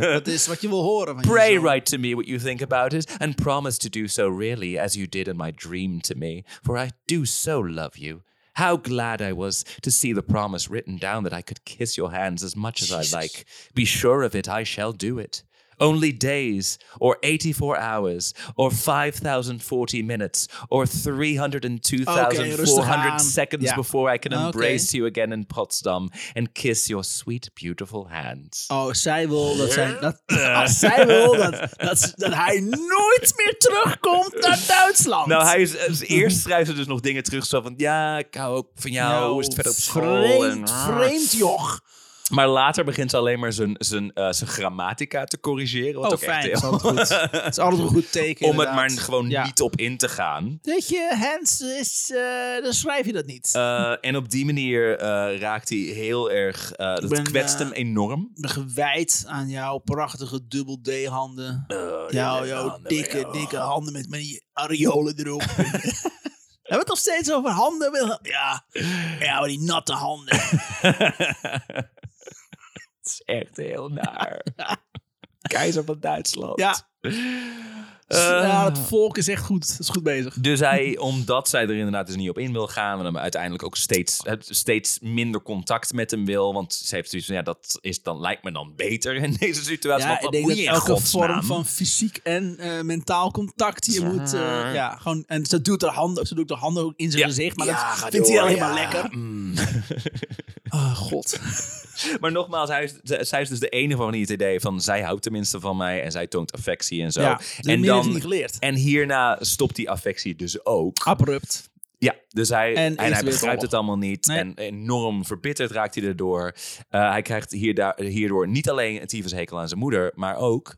Speaker 1: Dat is wat je wil horen van
Speaker 2: Pray
Speaker 1: jezelf.
Speaker 2: write to me what you think about it, and promise to do so really as you did in my dream to me, for I do so love you. How glad I was to see the promise written down that I could kiss your hands as much as
Speaker 1: Jesus.
Speaker 2: I like. Be sure of it, I shall do it. Only days, or 84 hours, or 5,040 minutes, or 302,400
Speaker 1: Okay, rustig aan.
Speaker 2: seconds
Speaker 1: Ja.
Speaker 2: before I can
Speaker 1: Okay.
Speaker 2: embrace you again in Potsdam and kiss your sweet, beautiful hands.
Speaker 1: Oh, zij wil dat zij. Dat, als zij wil dat, dat, ze- dat hij nooit meer terugkomt naar Duitsland.
Speaker 2: Nou, hij is, is- eerst schrijft ze dus nog dingen terug. Zo van, ja, ik hou ook van jou.
Speaker 1: Nou,
Speaker 2: Hoe is het verder op school? en- Ah,
Speaker 1: Vreemd, vreemd joch.
Speaker 2: Maar later begint ze alleen maar zijn, zijn, eh, zijn grammatica te corrigeren. Wat
Speaker 1: Oh,
Speaker 2: ook echt
Speaker 1: fijn.
Speaker 2: heel-
Speaker 1: Dat is
Speaker 2: <laughs>
Speaker 1: altijd goed. Dat is altijd een goed teken.
Speaker 2: Om het maar
Speaker 1: inderdaad.
Speaker 2: gewoon
Speaker 1: Ja.
Speaker 2: niet op in te gaan.
Speaker 1: Weet je, Hans is. eh, dan schrijf je dat niet.
Speaker 2: Eh, en op die manier eh, raakt hij heel erg... eh, dat
Speaker 1: ben,
Speaker 2: kwetst
Speaker 1: eh,
Speaker 2: hem enorm.
Speaker 1: Ik ben gewijd aan jouw prachtige dubbel D-handen.
Speaker 2: Oh,
Speaker 1: jouw
Speaker 2: nou,
Speaker 1: jouw oh, dikke,
Speaker 2: <laughs>
Speaker 1: dikke handen met mijn areolen erop. We hebben het nog steeds over handen. Wilhelm? Ja, ja maar die natte handen.
Speaker 2: Eh, Het is echt heel
Speaker 1: <laughs>
Speaker 2: naar. Keizer van Duitsland. Eh,
Speaker 1: Ja. ja, het volk is echt goed. is goed bezig.
Speaker 2: Dus hij, omdat zij er inderdaad dus niet op in wil gaan en hem uiteindelijk ook steeds, het- steeds minder contact met hem wil, want ze heeft zoiets van ja, dat is dan lijkt me dan beter in <laughs> deze situatie.
Speaker 1: Ja,
Speaker 2: Want
Speaker 1: ik
Speaker 2: wat
Speaker 1: denk
Speaker 2: moet
Speaker 1: dat
Speaker 2: je in
Speaker 1: elke
Speaker 2: godsnaam?
Speaker 1: vorm van fysiek en eh, mentaal contact je moet. eh, ja, gewoon, en ze doet, haar handen, ze doet haar handen ook in zijn
Speaker 2: Ja.
Speaker 1: gezicht, maar
Speaker 2: Ja, ga
Speaker 1: dat vindt hij
Speaker 2: door,
Speaker 1: alleen maar
Speaker 2: ja.
Speaker 1: lekker.
Speaker 2: Mm.
Speaker 1: Oh, <laughs> god.
Speaker 2: <laughs> Maar nogmaals, hij is, z- zij is dus de enige van wie het idee van zij houdt tenminste van mij en zij toont affectie en zo.
Speaker 1: Ja, dus
Speaker 2: en,
Speaker 1: heeft niet
Speaker 2: dan,
Speaker 1: geleerd.
Speaker 2: en hierna stopt die affectie dus ook.
Speaker 1: Abrupt.
Speaker 2: Ja, dus hij,
Speaker 1: En
Speaker 2: en,
Speaker 1: is
Speaker 2: hij
Speaker 1: weer
Speaker 2: begrijpt het
Speaker 1: oorlog.
Speaker 2: allemaal niet.
Speaker 1: Nee.
Speaker 2: En enorm verbitterd raakt hij erdoor. Eh, hij krijgt hierda- hierdoor niet alleen een tyfushekel aan zijn moeder, maar ook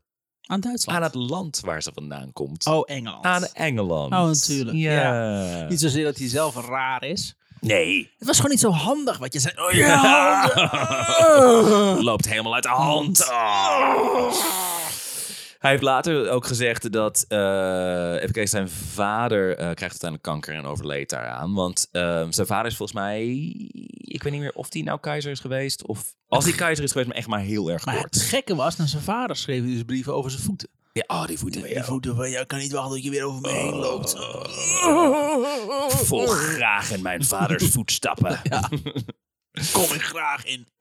Speaker 1: Aan Duitsland.
Speaker 2: aan het land waar ze vandaan komt.
Speaker 1: Oh, Engeland.
Speaker 2: Aan Engeland.
Speaker 1: Oh, natuurlijk,
Speaker 2: Ja.
Speaker 1: Niet zozeer dat hij zelf raar is.
Speaker 2: Nee.
Speaker 1: Het was gewoon niet zo handig wat je zei. Oh
Speaker 2: Ja.
Speaker 1: ja.
Speaker 2: Loopt helemaal uit de hand. Oh. Hij heeft later ook gezegd dat, eh, even kijken, zijn vader eh, krijgt uiteindelijk kanker en overleed daaraan. Want eh, zijn vader is volgens mij, ik weet niet meer of die nou keizer is geweest. Of als hij keizer is geweest, maar echt maar heel
Speaker 1: <laughs>
Speaker 2: erg
Speaker 1: Maar het
Speaker 2: kort.
Speaker 1: gekke was, naar zijn vader schreef hij dus brieven over zijn voeten.
Speaker 2: Ja, oh, die voeten.
Speaker 1: Die voeten van, ja, ik kan niet wachten tot je weer over me heen loopt.
Speaker 2: Vol graag in mijn vaders voetstappen.
Speaker 1: Kom ik graag in.
Speaker 2: <laughs>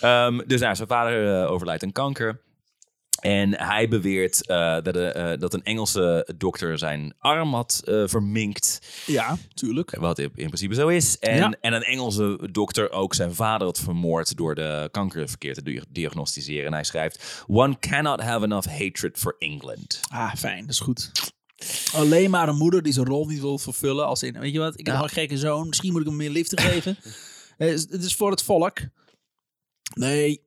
Speaker 2: Ehm, dus nou, zijn vader eh, overlijdt aan kanker. En hij beweert eh, dat, eh, eh, dat een Engelse dokter zijn arm had eh, verminkt.
Speaker 1: Ja, tuurlijk.
Speaker 2: Wat in in principe zo is. En,
Speaker 1: Ja.
Speaker 2: en een Engelse dokter ook zijn vader had vermoord door de kanker verkeerd te dia- diagnosticeren. En hij schrijft: One cannot have enough hatred for England.
Speaker 1: Ah, fijn, dat is goed. Alleen maar een moeder die zijn rol niet wil vervullen. Als in, weet je wat, ik heb
Speaker 2: Ja.
Speaker 1: al een gekke zoon. Misschien moet ik hem meer liefde geven. Eh, is- Het is voor het volk. Nee.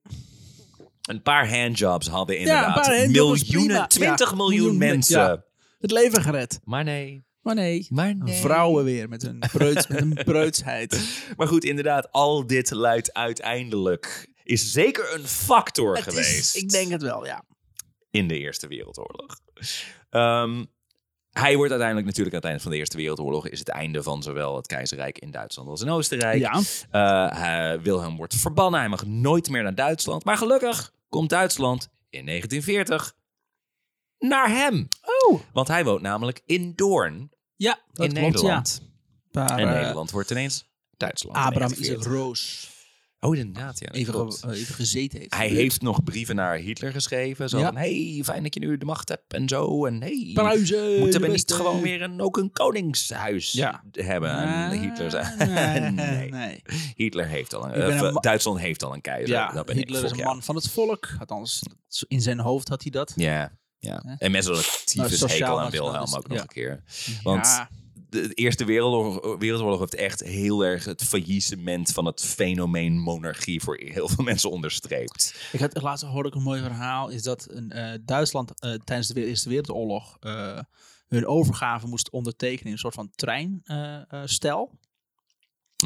Speaker 2: Een paar handjobs hadden
Speaker 1: een
Speaker 2: inderdaad
Speaker 1: paar handjobs,
Speaker 2: miljoenen,
Speaker 1: prima.
Speaker 2: 20
Speaker 1: Ja,
Speaker 2: miljoen
Speaker 1: miljoen men-
Speaker 2: mensen.
Speaker 1: ja. Het leven gered.
Speaker 2: Maar nee.
Speaker 1: Maar nee.
Speaker 2: Maar
Speaker 1: Vrouwen weer met hun, preuts, met hun preutsheid.
Speaker 2: Maar goed, inderdaad, al dit luidt uiteindelijk... is zeker een factor
Speaker 1: Het is,
Speaker 2: geweest.
Speaker 1: ik denk het wel, ja.
Speaker 2: in de Eerste Wereldoorlog. Ehm, hij wordt uiteindelijk natuurlijk aan het einde van de Eerste Wereldoorlog is het einde van zowel het keizerrijk in Duitsland als in Oostenrijk.
Speaker 1: Ja.
Speaker 2: Eh, hij- Wilhelm wordt verbannen, hij mag nooit meer naar Duitsland. Maar gelukkig komt Duitsland in 1940 naar hem,
Speaker 1: Oh.
Speaker 2: want hij woont namelijk in Doorn
Speaker 1: Ja, dat
Speaker 2: in
Speaker 1: klopt,
Speaker 2: Nederland.
Speaker 1: ja. Maar,
Speaker 2: En
Speaker 1: eh,
Speaker 2: Nederland wordt ineens Duitsland. in
Speaker 1: Abraham Isaac
Speaker 2: 1940.
Speaker 1: Roos
Speaker 2: Oh, inderdaad, ja. dat
Speaker 1: even,
Speaker 2: klopt.
Speaker 1: ge- eh, even gezeten heeft.
Speaker 2: Hij heeft nog brieven naar Hitler geschreven. Zo
Speaker 1: Ja.
Speaker 2: van, hey, fijn dat je nu de macht hebt en zo. En hey,
Speaker 1: Pruisen.
Speaker 2: Moeten
Speaker 1: de
Speaker 2: we niet
Speaker 1: beste.
Speaker 2: gewoon weer een, ook een koningshuis
Speaker 1: Ja.
Speaker 2: hebben? En Hitler, zei-
Speaker 1: <laughs> Ah,
Speaker 2: <laughs> nee.
Speaker 1: nee.
Speaker 2: Hitler heeft al een...
Speaker 1: ben
Speaker 2: eh,
Speaker 1: een ma-
Speaker 2: Duitsland heeft al een keizer.
Speaker 1: Ja,
Speaker 2: dat ben
Speaker 1: Hitler
Speaker 2: ik,
Speaker 1: is
Speaker 2: fuck
Speaker 1: een
Speaker 2: ja.
Speaker 1: man van het volk. Althans, in zijn hoofd had hij dat.
Speaker 2: Ja, ja.
Speaker 1: Hè?
Speaker 2: En mensen hadden
Speaker 1: Nou,
Speaker 2: tyfus
Speaker 1: sociaal
Speaker 2: hekel aan
Speaker 1: nationaal
Speaker 2: Wilhelm
Speaker 1: is-
Speaker 2: ook nog
Speaker 1: ja.
Speaker 2: een keer. Want
Speaker 1: ja,
Speaker 2: de, de Eerste Wereldoorlog, Wereldoorlog heeft echt heel erg het faillissement van het fenomeen monarchie voor heel veel <laughs> mensen onderstreept.
Speaker 1: ik had laatst hoorde ik een mooi verhaal. Is dat een, eh, Duitsland eh, tijdens de Eerste Wereldoorlog eh, hun overgave moest ondertekenen in een soort van treinstel.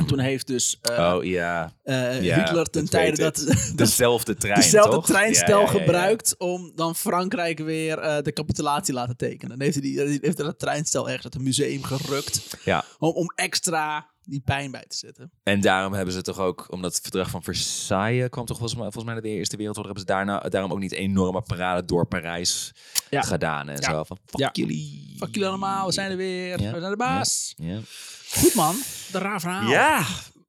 Speaker 1: toen heeft dus eh,
Speaker 2: Mhm. oh ja,
Speaker 1: eh,
Speaker 2: ja,
Speaker 1: Hitler ten
Speaker 2: dat
Speaker 1: tijde
Speaker 2: weet
Speaker 1: dat, <laughs>
Speaker 2: ik.
Speaker 1: dat
Speaker 2: dezelfde trein,
Speaker 1: dezelfde
Speaker 2: toch?
Speaker 1: treinstel
Speaker 2: Ja, ja, ja, ja.
Speaker 1: gebruikt om dan Frankrijk weer eh, de capitulatie laten tekenen. Dan heeft hij, die, die- heeft hij dat treinstel ergens uit een museum gerukt
Speaker 2: Ja.
Speaker 1: om, om extra die pijn bij te zetten.
Speaker 2: En daarom hebben ze toch ook, omdat het verdrag van Versailles kwam toch volgens mij, volgens mij naar de Eerste Wereldoorlog, hebben ze daarna, daarom ook niet enorme parade door Parijs
Speaker 1: Ja.
Speaker 2: gedaan. En
Speaker 1: Ja.
Speaker 2: zo van, fuck
Speaker 1: Ja.
Speaker 2: jullie.
Speaker 1: Fuck jullie allemaal, we zijn er weer.
Speaker 2: Ja.
Speaker 1: We zijn de baas.
Speaker 2: Ja.
Speaker 1: Goed man, de raar verhaal.
Speaker 2: Ja.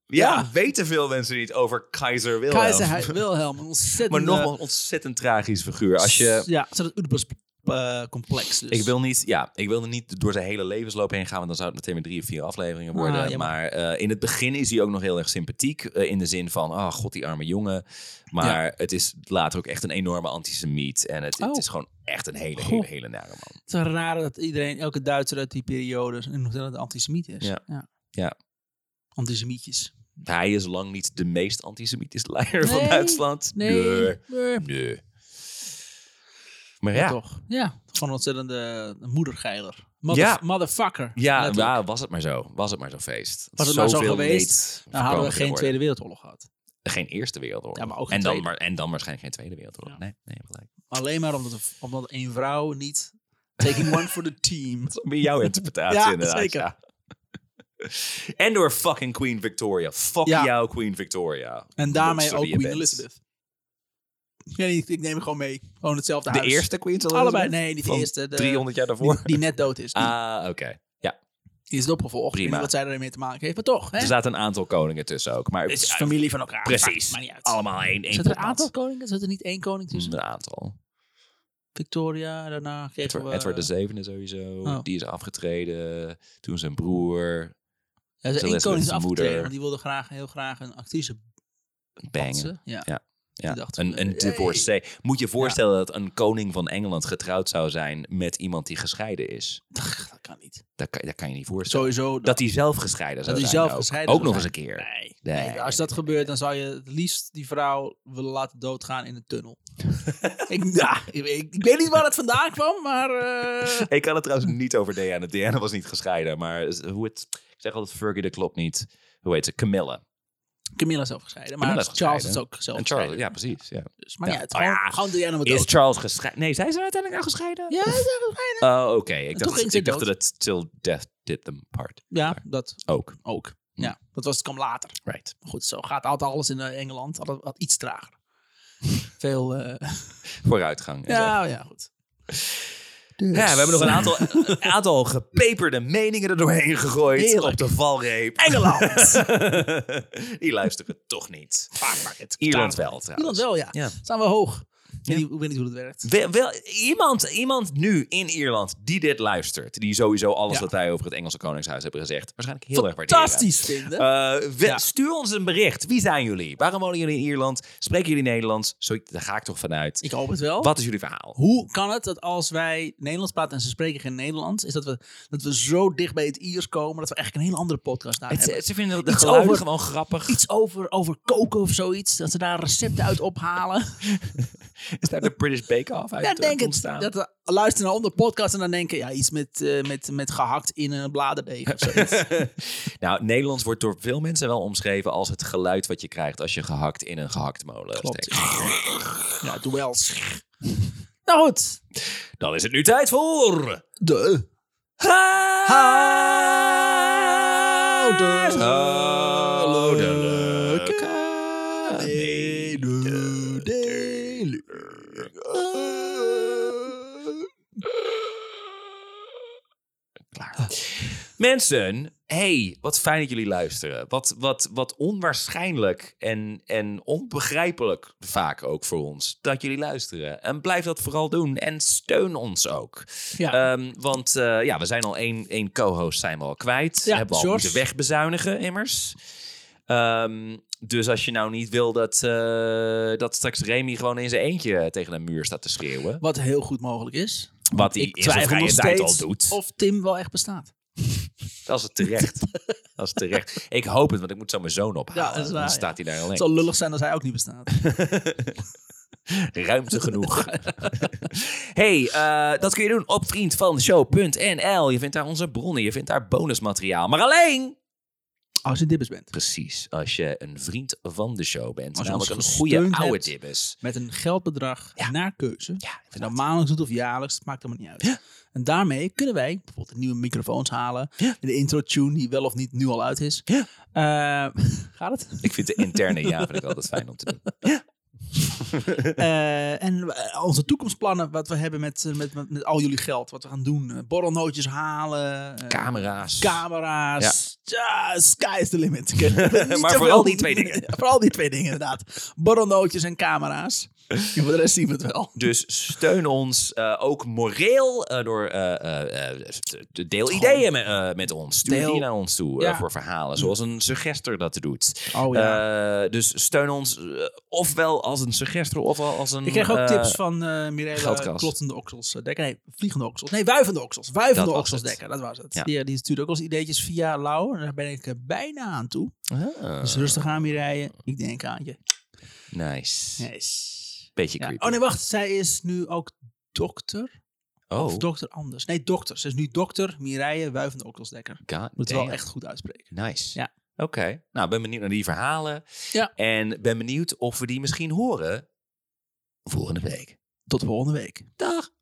Speaker 1: Ja.
Speaker 2: weten veel mensen niet over Keizer Wilhelm.
Speaker 1: Keizer Hij- Wilhelm, een ontzettend...
Speaker 2: maar nogmaals, ontzettend tragisch figuur. Als je,
Speaker 1: Ja, het is het Oedipus-complex dus.
Speaker 2: ik wil niet, ja, ik wil er niet door zijn hele levensloop heen gaan, want dan zou het meteen weer drie of vier afleveringen worden.
Speaker 1: Ah, jammer.
Speaker 2: maar eh, in het begin is hij ook nog heel erg sympathiek, eh, in de zin van, ah, god, die arme jongen. Maar het is later ook echt een enorme antisemiet. En het, het
Speaker 1: Oh.
Speaker 2: is gewoon echt een hele,
Speaker 1: Goh.
Speaker 2: hele, hele nare
Speaker 1: Het
Speaker 2: man.
Speaker 1: is raar dat iedereen, elke Duitser uit die periode, een- nog altijd een antisemiet is.
Speaker 2: Ja. Ja.
Speaker 1: Antisemietjes.
Speaker 2: Hij is lang niet de meest antisemitische leider van
Speaker 1: Nee,
Speaker 2: Duitsland. Nee.
Speaker 1: nee.
Speaker 2: nee. Maar
Speaker 1: Ja.
Speaker 2: ja,
Speaker 1: toch? Ja. Gewoon een ontzettende moedergeiler. Mother-
Speaker 2: Ja.
Speaker 1: Motherfucker.
Speaker 2: ja,
Speaker 1: Letterlijk. Nou,
Speaker 2: ja, was het maar zo. Was het maar zo'n feest.
Speaker 1: Was het maar zo
Speaker 2: Zoveel
Speaker 1: geweest,
Speaker 2: leed
Speaker 1: Dan hadden we
Speaker 2: voorkomen
Speaker 1: geen
Speaker 2: kunnen
Speaker 1: Tweede Wereldoorlog gehad.
Speaker 2: worden. Geen Eerste Wereldoorlog.
Speaker 1: Ja, maar ook geen
Speaker 2: en, dan,
Speaker 1: Tweede.
Speaker 2: maar, en dan waarschijnlijk geen Tweede
Speaker 1: Ja.
Speaker 2: Wereldoorlog. Nee, nee, gelijk.
Speaker 1: Alleen maar omdat, een- omdat één vrouw niet... Taking one for the
Speaker 2: <laughs>
Speaker 1: team.
Speaker 2: Dat is meer jouw interpretatie
Speaker 1: Ja,
Speaker 2: inderdaad.
Speaker 1: zeker.
Speaker 2: ja. En door fucking Queen Victoria. Fuck
Speaker 1: Ja.
Speaker 2: jou, Queen Victoria.
Speaker 1: En daarmee
Speaker 2: Monster
Speaker 1: ook
Speaker 2: die je
Speaker 1: Queen
Speaker 2: bent.
Speaker 1: Elizabeth. Ja, ik, ik neem hem gewoon mee. Gewoon hetzelfde
Speaker 2: De
Speaker 1: huis.
Speaker 2: eerste Queen Elizabeth?
Speaker 1: Allebei. Nee, niet de
Speaker 2: Van
Speaker 1: eerste. De,
Speaker 2: 300 jaar daarvoor?
Speaker 1: die, die net dood is. Die,
Speaker 2: Ah, oké. Ja,
Speaker 1: die is opgevolgd. Ik weet
Speaker 2: prima.
Speaker 1: niet wat zij ermee te maken heeft, maar toch. Hè?
Speaker 2: Dus er zaten een aantal koningen tussen ook. Maar
Speaker 1: het is
Speaker 2: Ja,
Speaker 1: familie van elkaar.
Speaker 2: precies.
Speaker 1: Maar niet uit.
Speaker 2: Allemaal één, één
Speaker 1: Zit er een
Speaker 2: pot nat.
Speaker 1: aantal koningen? Zit er niet één koning tussen?
Speaker 2: Een aantal.
Speaker 1: Victoria, daarna kregen
Speaker 2: Edward,
Speaker 1: we...
Speaker 2: Edward de Zevende sowieso.
Speaker 1: eh, Oh.
Speaker 2: Die is afgetreden. Toen zijn broer.
Speaker 1: Ja, ze
Speaker 2: Zelfs
Speaker 1: één
Speaker 2: met
Speaker 1: koning is
Speaker 2: zijn
Speaker 1: afgetreden,
Speaker 2: moeder.
Speaker 1: want die wilde graag, heel graag een actrice
Speaker 2: Bangen.
Speaker 1: patsen. Ja. <laughs>
Speaker 2: Ja,
Speaker 1: Die dacht
Speaker 2: een,
Speaker 1: van,
Speaker 2: een
Speaker 1: hey.
Speaker 2: divorcee. Moet je voorstellen dat een koning van Engeland getrouwd zou zijn met iemand die gescheiden is?
Speaker 1: Dat kan niet.
Speaker 2: Dat kan, dat kan je niet voorstellen.
Speaker 1: Sowieso.
Speaker 2: dat hij zelf gescheiden zou
Speaker 1: dat hij
Speaker 2: zijn.
Speaker 1: zelf
Speaker 2: ook.
Speaker 1: gescheiden
Speaker 2: Ook
Speaker 1: zou
Speaker 2: nog eens een
Speaker 1: zijn.
Speaker 2: keer.
Speaker 1: Nee.
Speaker 2: Nee,
Speaker 1: nee,
Speaker 2: nee,
Speaker 1: Als dat gebeurt, dan zou je het liefst die vrouw willen laten doodgaan in een
Speaker 2: <laughs>
Speaker 1: tunnel. ik, ja, ik, ik- ik weet niet waar het vandaan kwam, maar... eh,
Speaker 2: <laughs> Ik kan
Speaker 1: <laughs>
Speaker 2: het trouwens niet over Diana. Diana was niet gescheiden. Maar z- hoe het... Ik zeg altijd Fergie, dat klopt niet. Hoe heet ze? Camilla.
Speaker 1: Camilla is zelf gescheiden, maar
Speaker 2: Camilla is
Speaker 1: Charles
Speaker 2: gescheiden.
Speaker 1: is ook zelf
Speaker 2: En Charles,
Speaker 1: gescheiden.
Speaker 2: ja precies. Ja.
Speaker 1: Dus, maar
Speaker 2: Ja.
Speaker 1: ja, het
Speaker 2: Oh
Speaker 1: gewoon,
Speaker 2: ja.
Speaker 1: gewoon Diana moet
Speaker 2: Is
Speaker 1: dood.
Speaker 2: Charles gescheiden? Nee, zijn ze uiteindelijk al gescheiden?
Speaker 1: Ja, ze is gescheiden.
Speaker 2: Oh, oké. Ik,
Speaker 1: toen ging
Speaker 2: dacht,
Speaker 1: ze
Speaker 2: ik dacht
Speaker 1: dood.
Speaker 2: dat het Till Death Did Them Part
Speaker 1: ja, dat
Speaker 2: ook.
Speaker 1: ook.
Speaker 2: Hm.
Speaker 1: Ja, dat was, het kwam later.
Speaker 2: Right.
Speaker 1: Maar goed, zo gaat altijd alles in eh, Engeland. Altijd wat iets
Speaker 2: <laughs>
Speaker 1: trager. Veel... eh,
Speaker 2: Vooruitgang. en zo.
Speaker 1: Nou Ja, ja, goed.
Speaker 2: Ja, we hebben nog een
Speaker 1: <laughs>
Speaker 2: aantal, een aantal gepeperde meningen er doorheen gegooid
Speaker 1: Heerlijk.
Speaker 2: op de valreep.
Speaker 1: Engeland.
Speaker 2: <laughs> Die luisteren toch niet.
Speaker 1: Fuck it.
Speaker 2: Ierland wel trouwens.
Speaker 1: Ierland wel, ja.
Speaker 2: Ja.
Speaker 1: Staan we hoog. Ik
Speaker 2: Ja.
Speaker 1: weet niet- ik weet niet hoe dat werkt.
Speaker 2: Wel, wel- iemand, iemand nu in Ierland die dit luistert, die sowieso alles
Speaker 1: Ja.
Speaker 2: wat wij over het Engelse Koningshuis hebben gezegd, waarschijnlijk heel erg waarderen.
Speaker 1: Fantastisch vinden.
Speaker 2: Eh, we-
Speaker 1: Ja.
Speaker 2: Stuur ons een bericht. Wie zijn jullie? Waarom wonen jullie in Ierland? Spreken jullie Nederlands? Zo, daar ga ik toch vanuit.
Speaker 1: ik hoop het wel.
Speaker 2: Wat is jullie verhaal?
Speaker 1: Hoe kan het dat als wij Nederlands praten en ze spreken geen Nederlands, is dat we, dat we zo dicht bij het Iers komen dat we eigenlijk een hele andere podcast daar
Speaker 2: Het-
Speaker 1: hebben?
Speaker 2: ze, ze vinden de
Speaker 1: Iets
Speaker 2: geluiden
Speaker 1: over-
Speaker 2: gewoon grappig. <laughs>
Speaker 1: Iets over, over koken of zoiets, dat ze daar recepten uit ophalen.
Speaker 2: Is daar de British Bake Off uit
Speaker 1: Ja,
Speaker 2: eh,
Speaker 1: denk het.
Speaker 2: ontstaan?
Speaker 1: Dat we luisteren naar andere podcasts en dan denken, ja, iets met, eh, met, met gehakt in een bladerdeeg of
Speaker 2: <laughs>
Speaker 1: zoiets.
Speaker 2: nou, Nederlands wordt door veel mensen wel omschreven als het geluid wat je krijgt als je gehakt in een gehaktmolen
Speaker 1: Klopt.
Speaker 2: steekt.
Speaker 1: ja, doe wel. Nou goed.
Speaker 2: Dan is het nu tijd voor...
Speaker 1: De.
Speaker 2: Huishoudelijk.
Speaker 1: Mededeling.
Speaker 2: Mensen, hey, wat fijn dat jullie luisteren. Wat, wat, wat onwaarschijnlijk en, en onbegrijpelijk vaak ook voor ons dat jullie luisteren. En blijf dat vooral doen en steun ons ook.
Speaker 1: Ja.
Speaker 2: Ehm, want eh, ja, we zijn al één, één co-host zijn we al kwijt.
Speaker 1: Ja,
Speaker 2: Hebben we al
Speaker 1: George.
Speaker 2: moeten wegbezuinigen, immers. Ehm, dus als je nou niet wil dat, eh, dat straks Remy gewoon in zijn eentje tegen een muur staat te schreeuwen.
Speaker 1: Wat heel goed mogelijk is.
Speaker 2: Wat hij
Speaker 1: Ik
Speaker 2: in zijn
Speaker 1: twijfel nog
Speaker 2: vrije tijd al
Speaker 1: steeds
Speaker 2: doet.
Speaker 1: of Tim wel echt bestaat.
Speaker 2: Dat is het
Speaker 1: <laughs>
Speaker 2: terecht. dat is terecht. Ik hoop het, want ik moet zo mijn zoon ophalen.
Speaker 1: Ja, dat is waar,
Speaker 2: dan
Speaker 1: ja.
Speaker 2: staat hij daar
Speaker 1: Het
Speaker 2: alleen.
Speaker 1: zal lullig zijn als hij ook niet bestaat.
Speaker 2: Ruimte genoeg. hey, eh, dat kun je doen op vriendvanshow.nl. Je vindt daar onze bronnen, je vindt daar bonusmateriaal. Maar alleen...
Speaker 1: <laughs> Als je dibbes bent.
Speaker 2: Precies, als je een vriend van de show bent.
Speaker 1: Als je
Speaker 2: namelijk een
Speaker 1: ons
Speaker 2: goede
Speaker 1: gesteund
Speaker 2: oude
Speaker 1: hebt.
Speaker 2: dibbes.
Speaker 1: Met een geldbedrag
Speaker 2: Ja.
Speaker 1: naar keuze.
Speaker 2: Ja,
Speaker 1: Of je nou maandelijks doet of jaarlijks, het maakt helemaal niet uit.
Speaker 2: Ja.
Speaker 1: En daarmee kunnen wij bijvoorbeeld nieuwe microfoons halen.
Speaker 2: Ja.
Speaker 1: De intro-tune die wel of niet nu al uit is.
Speaker 2: Ja.
Speaker 1: Eh, <laughs> gaat het?
Speaker 2: ik vind de
Speaker 1: <laughs>
Speaker 2: interne ja vind ik altijd fijn om te doen.
Speaker 1: Eh, en eh, onze toekomstplannen, wat we hebben met, eh, met, met, met al jullie geld. Wat we gaan doen. Eh, borrelnootjes halen. eh,
Speaker 2: Camera's.
Speaker 1: camera's. Ja. sky is the limit.
Speaker 2: <laughs>
Speaker 1: Ik weet niet
Speaker 2: Maar
Speaker 1: zoveel.
Speaker 2: vooral die twee dingen.
Speaker 1: Ja, <laughs> vooral die twee dingen, inderdaad. Borrelnootjes en camera's. En voor de rest zien we het wel.
Speaker 2: Dus steun ons eh, ook moreel eh, door eh, eh, eh, de- deel ideeën me- eh, met ons. Stuur
Speaker 1: Deel-
Speaker 2: die naar ons toe eh,
Speaker 1: Ja.
Speaker 2: voor verhalen, zoals een suggester dat doet.
Speaker 1: Oh
Speaker 2: Eh, dus steun ons eh, ofwel als een suggester ofwel als een...
Speaker 1: Ik kreeg ook
Speaker 2: eh,
Speaker 1: tips van eh Mirella
Speaker 2: Geldkast.
Speaker 1: klottende oksels eh, dekker. Nee, vliegende oksels. Nee, wuivende oksels. Wuivende
Speaker 2: Dat was
Speaker 1: oksels
Speaker 2: het.
Speaker 1: dekker, dat was het.
Speaker 2: Ja.
Speaker 1: Die, die stuurde ook wel eens ideetjes via Lau. En daar ben ik eh, bijna aan toe.
Speaker 2: Ah,
Speaker 1: Dus rustig aan rijden. Ik denk aan je.
Speaker 2: Nice.
Speaker 1: Yes.
Speaker 2: Beetje
Speaker 1: Ja.
Speaker 2: creepy.
Speaker 1: Oh nee, wacht. Zij is nu ook dokter.
Speaker 2: Oh,
Speaker 1: Of dokter anders. Nee, dokter. Ze is nu dokter Mireille Wuivende oksels dekker.
Speaker 2: god
Speaker 1: Moet het
Speaker 2: damn.
Speaker 1: wel echt goed uitspreken.
Speaker 2: Nice.
Speaker 1: Ja.
Speaker 2: Oké. Nou, ben benieuwd naar die verhalen.
Speaker 1: Ja.
Speaker 2: En ben benieuwd of we die misschien horen volgende week.
Speaker 1: Tot volgende week.
Speaker 2: Dag.